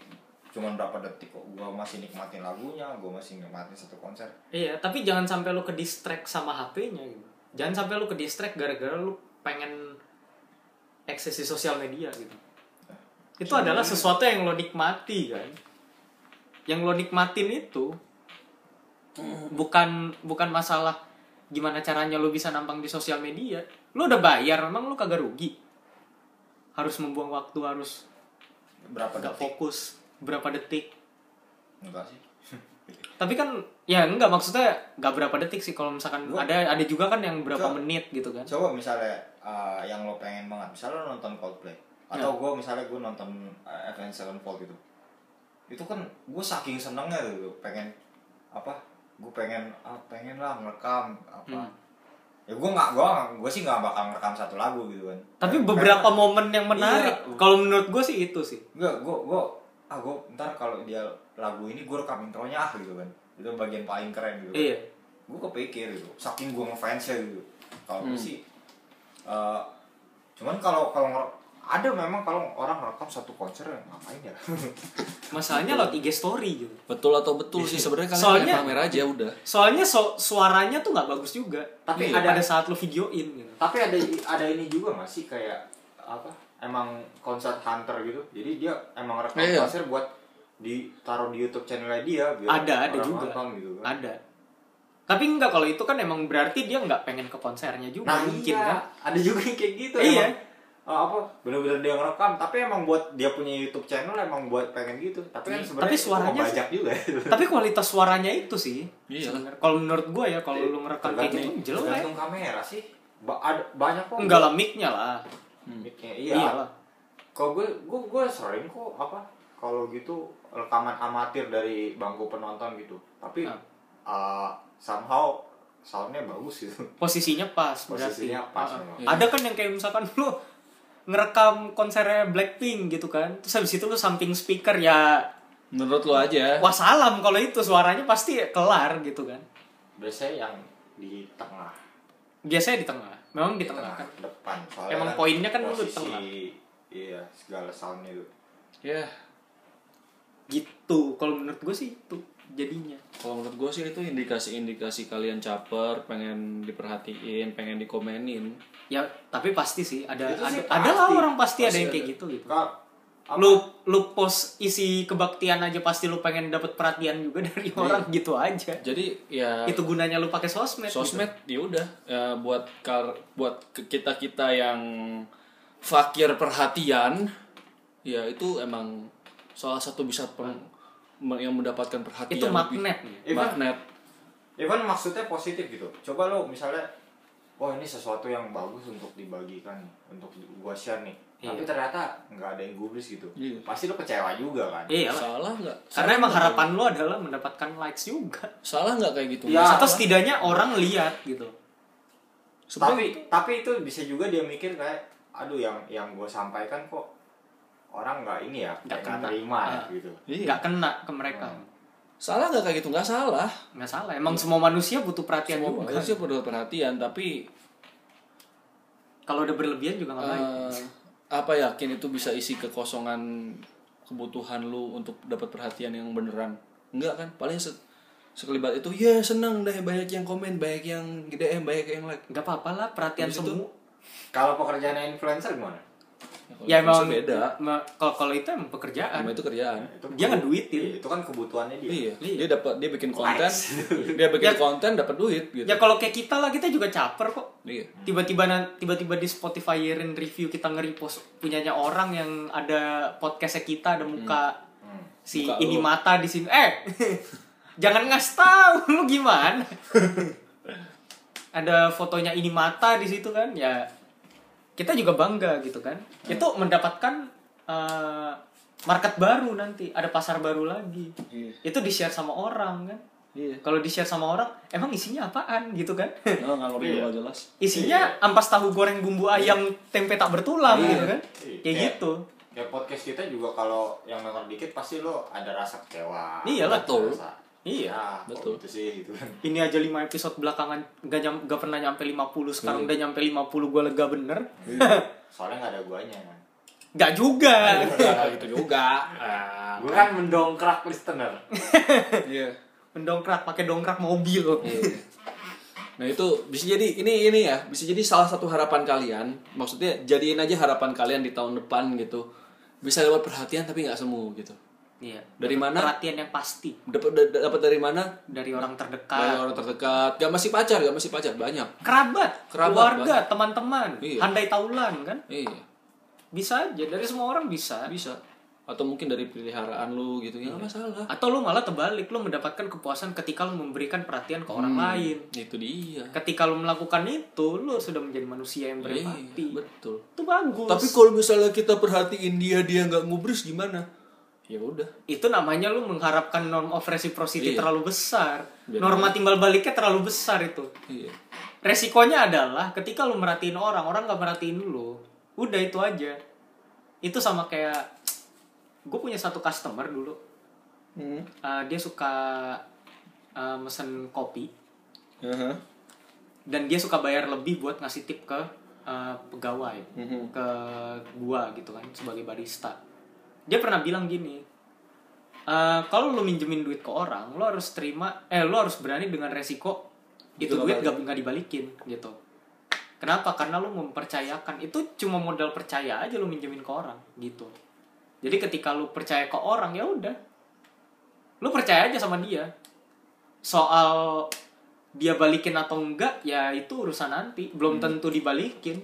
cuman berapa detik kok gue masih nikmatin lagunya gue masih nikmatin satu konser Iya, tapi jangan sampai lu ke distract sama HP-nya gitu. Jangan sampai lu ke distract gara-gara lu pengen ekses di sosial media gitu. Itu adalah sesuatu yang lo nikmati kan. Yang lo nikmatin itu Hmm. bukan bukan masalah gimana caranya lu bisa nampang di sosial media. Lu udah bayar, emang lu kagak rugi. Harus membuang waktu, harus berapa nggak detik fokus berapa detik. [LAUGHS] enggak sih Tapi kan ya enggak maksudnya nggak berapa detik sih kalau misalkan Gua- ada ada juga kan yang berapa Coba. menit gitu kan. Coba misalnya uh, yang lo pengen banget, misalnya lo nonton Coldplay atau Ya. gue misalnya gue nonton uh, Avenged Sevenfold gitu, itu kan gue saking senengnya tuh pengen apa? Gue pengen ah, pengen lah ngerekam apa? Hmm. Ya gue nggak gue gue sih nggak bakal ngerekam satu lagu gitu kan. Tapi Kayak- beberapa kayak- momen yang menarik. Iya. Kalau menurut gue sih itu sih. Enggak, gue gue ah gue ntar kalau dia lagu ini gue rekam intronya ah gitu kan. Itu bagian paling keren gitu. kan. Iya. gue kepikir gitu saking gue ngefansnya gitu kalau gue sih eh, cuman kalau kalau nger- ada memang kalau orang rekam satu konser ya ngapain ya [LAUGHS] Masalahnya lo IG story gitu. Betul atau betul sih sebenarnya kalian Soalnya- pengen pamer aja udah. Soalnya so- suaranya tuh nggak bagus juga. Tapi Tapi iya. ada ada saat lo videoin gitu. tapi ada ada ini juga nggak sih kayak apa emang konser hunter gitu jadi dia emang rekam Iya. konser buat ditaruh di YouTube channelnya dia biar Ada, ada Iya. orang juga. nonton gitu kan Ada. Tapi enggak kalau itu kan emang berarti dia nggak pengen ke konsernya juga nah mungkin iya kan. ada juga yang kayak gitu Iya. emang. Eh, apa bener-bener dia ngerekam tapi emang buat dia punya YouTube channel emang buat pengen gitu tapi kan Iya. sebenarnya Tapi itu suaranya- ngebajak juga [LAUGHS] Tapi kualitas suaranya itu sih. Iya. sebenarnya. Kalau menurut gue ya kalau lu ngerekam kayak gitu Tergantung- jelek. tergantung kamera sih ba ada banyak kok Enggak lah mic-nya lah. Mic-nya, iya Iyalah. kalau gue gue gue sering kok apa kalau gitu rekaman amatir dari bangku penonton gitu tapi Nah. uh, somehow soundnya bagus gitu [LAUGHS] Posisinya pas berarti. Posisinya pas Ah, memang. ah. Ada kan yang kayak misalkan lu ngerekam konsernya Blackpink gitu kan. Terus habis itu lu samping speaker ya Menurut lo aja. wassalam kalau itu suaranya pasti kelar gitu kan. biasanya yang di tengah Biasanya di tengah. Memang di tengah kan. depan soalnya Emang poinnya kan lu di posisi, tengah. iya segala soundnya itu Ya, Gitu. Kalau menurut gue sih itu jadinya. kalau menurut gue sih itu indikasi-indikasi kalian caper, pengen diperhatiin, pengen dikomenin. Ya, tapi pasti sih ada Itu sih ada, ada lah pasti. orang pasti, ada Pasti yang kayak ada. gitu gitu. Kak, apa- Lu lu post isi kebaktian aja pasti lu pengen dapet perhatian juga [LAUGHS] dari Iya. orang gitu aja. Jadi ya Itu gunanya lu pakai sosmed. gitu. sosmed ya udah ya, buat kar buat kita kita yang fakir perhatian ya itu emang salah satu bisa peng- me- yang mendapatkan perhatian Itu lebih. magnet. Even- magnet Even maksudnya positif gitu. Coba lo misalnya, wah ini sesuatu yang bagus untuk dibagikan, untuk di- gua share nih. Tapi ternyata nggak ada yang gubris gitu. Iya. Pasti lo kecewa juga kan. Iya. lah. salah nggak Karena Salah emang nggak harapan lu adalah mendapatkan likes juga. kayak- salah nggak kayak gitu Ya, Salah. Atau setidaknya orang lihat gitu. tapi Sebenarnya- tapi itu bisa juga dia mikir kayak, aduh yang yang gue sampaikan kok orang nggak ini ya, Nggak kayak nggak kena. terima ya Ah. gitu. Iya. nggak kena ke mereka. salah nggak kayak gitu nggak salah nggak salah. Emang semua manusia butuh perhatian semua juga. manusia perlu perhatian tapi Kalau udah berlebihan juga nggak baik. eh, apa yakin itu bisa isi kekosongan kebutuhan lu untuk dapat perhatian yang beneran enggak kan paling se- sekelibat itu ya seneng deh banyak yang komen banyak yang DM banyak yang like Gak apa-apa lah perhatian Habis itu- semua. Kalau pekerjaannya influencer gimana? kalau Ya influencer emang beda ma- Kalau kalau itu emang pekerjaan. sama itu kerjaan Nah, Itu Dia ngeduitin. Iya, itu kan kebutuhannya dia. iya Iya. dia dapat dia bikin [LAUGHS] konten dia bikin Ya. konten dapat duit gitu Ya kalau kayak kita lah kita juga caper kok. iya Tiba-tiba nan- tiba-tiba di Spotify-in review kita nge-repost punyanya orang yang ada podcastnya kita ada muka Hmm. si Muka ini lu. mata di sini. Eh. [LAUGHS] jangan ngasih tahu [LAUGHS] lu [LAUGHS] gimana. ada fotonya ini mata di situ kan ya kita juga bangga gitu kan. Hmm. Itu mendapatkan eh, market baru nanti, ada pasar baru lagi. Iya. Itu di-share sama orang kan. iya Kalau di share sama orang, emang isinya apaan gitu kan? [LAUGHS] oh, nggak ngerti nggak [LAUGHS] jelas isinya ampas tahu goreng bumbu ayam tempe tak bertulang gitu kan? Iya. Kayak Iya. gitu. Kayak podcast kita juga kalau yang denger dikit pasti lo ada rasa kecewa. Iyalah. Betul. Rasa, Iya. "Ah, kok Betul. gitu sih gitu kan. Ini aja 5 episode belakangan gak, nyam- gak pernah nyampe 50 sekarang udah nyampe 50 gue lega bener. [LAUGHS] soalnya nggak ada guanya kan Gak juga. Nggak gitu [LAUGHS] juga Ah. gue kan mendongkrak listener iya Mendongkrak pakai dongkrak mobil. Nah itu bisa jadi ini ini ya bisa jadi salah satu harapan kalian maksudnya jadiin aja harapan kalian di tahun depan gitu bisa lewat perhatian tapi nggak semu gitu Iya. Dari mana? Perhatian yang pasti dapat da- da- dapat dari mana dari orang dari terdekat. orang terdekat gak masih pacar gak masih pacar banyak Kerabat, Kerabat, keluarga, teman-teman, Iya. handai taulan kan? iya Bisa aja dari semua orang bisa. bisa atau mungkin dari peliharaan lu gitu ya Iya. nggak masalah Atau lu malah terbalik, lu mendapatkan kepuasan ketika lu memberikan perhatian ke Hmm. orang lain. itu dia Ketika lu melakukan itu, lu sudah menjadi manusia yang berempati. Iya, betul itu bagus. tapi kalau misalnya kita perhatiin dia dia nggak ngubris gimana ya udah itu namanya lu mengharapkan norm of reciprocity Iya. terlalu besar. Biar- Norma timbal baliknya terlalu besar itu. iya Resikonya adalah ketika lu merhatiin orang, orang nggak merhatiin lu. Udah itu aja. Itu sama kayak gue punya satu customer dulu. Uh, dia suka uh, mesen kopi Aha. dan dia suka bayar lebih buat ngasih tip ke uh, pegawai, ke gua gitu kan sebagai barista. Dia pernah bilang gini, "Eh, kalau lu minjemin duit ke orang, lu harus terima, eh lu harus berani dengan resiko itu Itu duit gak, nggak dibalikin gitu. Kenapa? Karena lu mempercayakan itu cuma modal percaya aja lu minjemin ke orang gitu. Jadi ketika lu percaya ke orang ya udah, lu percaya aja sama dia. Soal dia balikin atau enggak ya itu urusan nanti, belum tentu dibalikin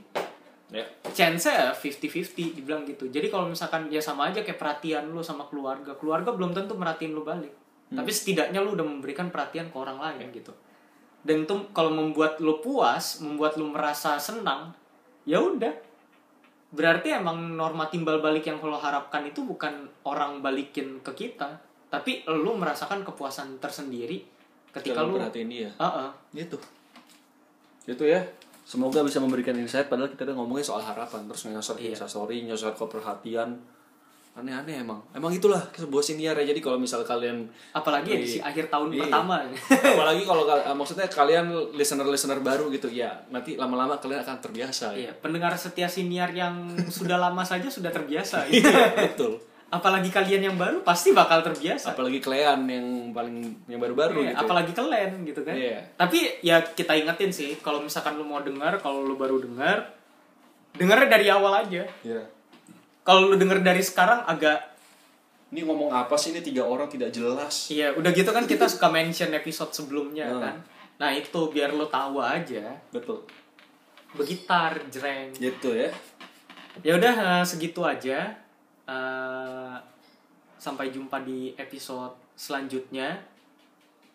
ya chance ya 50-50 dibilang gitu. Jadi kalau misalkan ya sama aja kayak perhatian lu sama keluarga. Keluarga belum tentu merhatiin lu balik. Hmm. Tapi setidaknya lu udah memberikan perhatian ke orang lain gitu. Dan itu kalau membuat lu puas, membuat lu merasa senang, ya udah. Berarti emang norma timbal balik yang lo harapkan itu bukan orang balikin ke kita, tapi lu merasakan kepuasan tersendiri ketika kalau lu perhatiin dia Heeh. gitu gitu ya semoga bisa memberikan insight padahal kita udah ngomongin soal harapan terus nyasar ke Iya. instastory nyasar ke perhatian aneh-aneh emang emang itulah sebuah siniar ya jadi kalau misal [LAUGHS] kalian Apalagi ya di si akhir tahun Iya. pertama. apalagi kalau kal- eh, maksudnya kalian listener listener baru gitu ya nanti lama-lama kalian akan terbiasa ya [LAUGHS] Iya, pendengar setia siniar [LAUGHS] yang sudah lama saja sudah terbiasa. gitu. Iya, betul apalagi kalian yang baru pasti bakal terbiasa. apalagi kalian yang paling yang baru-baru Iya, gitu apalagi kalian gitu kan. Iya. Tapi ya kita ingetin sih, kalau misalkan lu mau dengar, kalau lu baru dengar, dengarnya dari awal aja. Iya. Kalau lu denger dari sekarang agak ini ngomong apa sih ini tiga orang tidak jelas iya, udah gitu kan kita suka mention episode sebelumnya kan. Nah, itu biar lu tahu aja. betul Begitar jreng. gitu ya Ya udah eh, segitu aja. Eh, sampai jumpa di episode selanjutnya.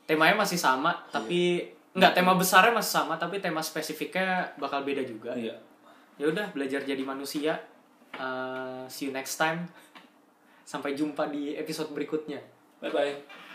Temanya masih sama, tapi nggak tema besarnya masih sama, tapi tema spesifiknya bakal beda juga. iya Ya udah belajar jadi manusia. [LAUGHS] Eh, see you next time. Sampai jumpa di episode berikutnya. bye bye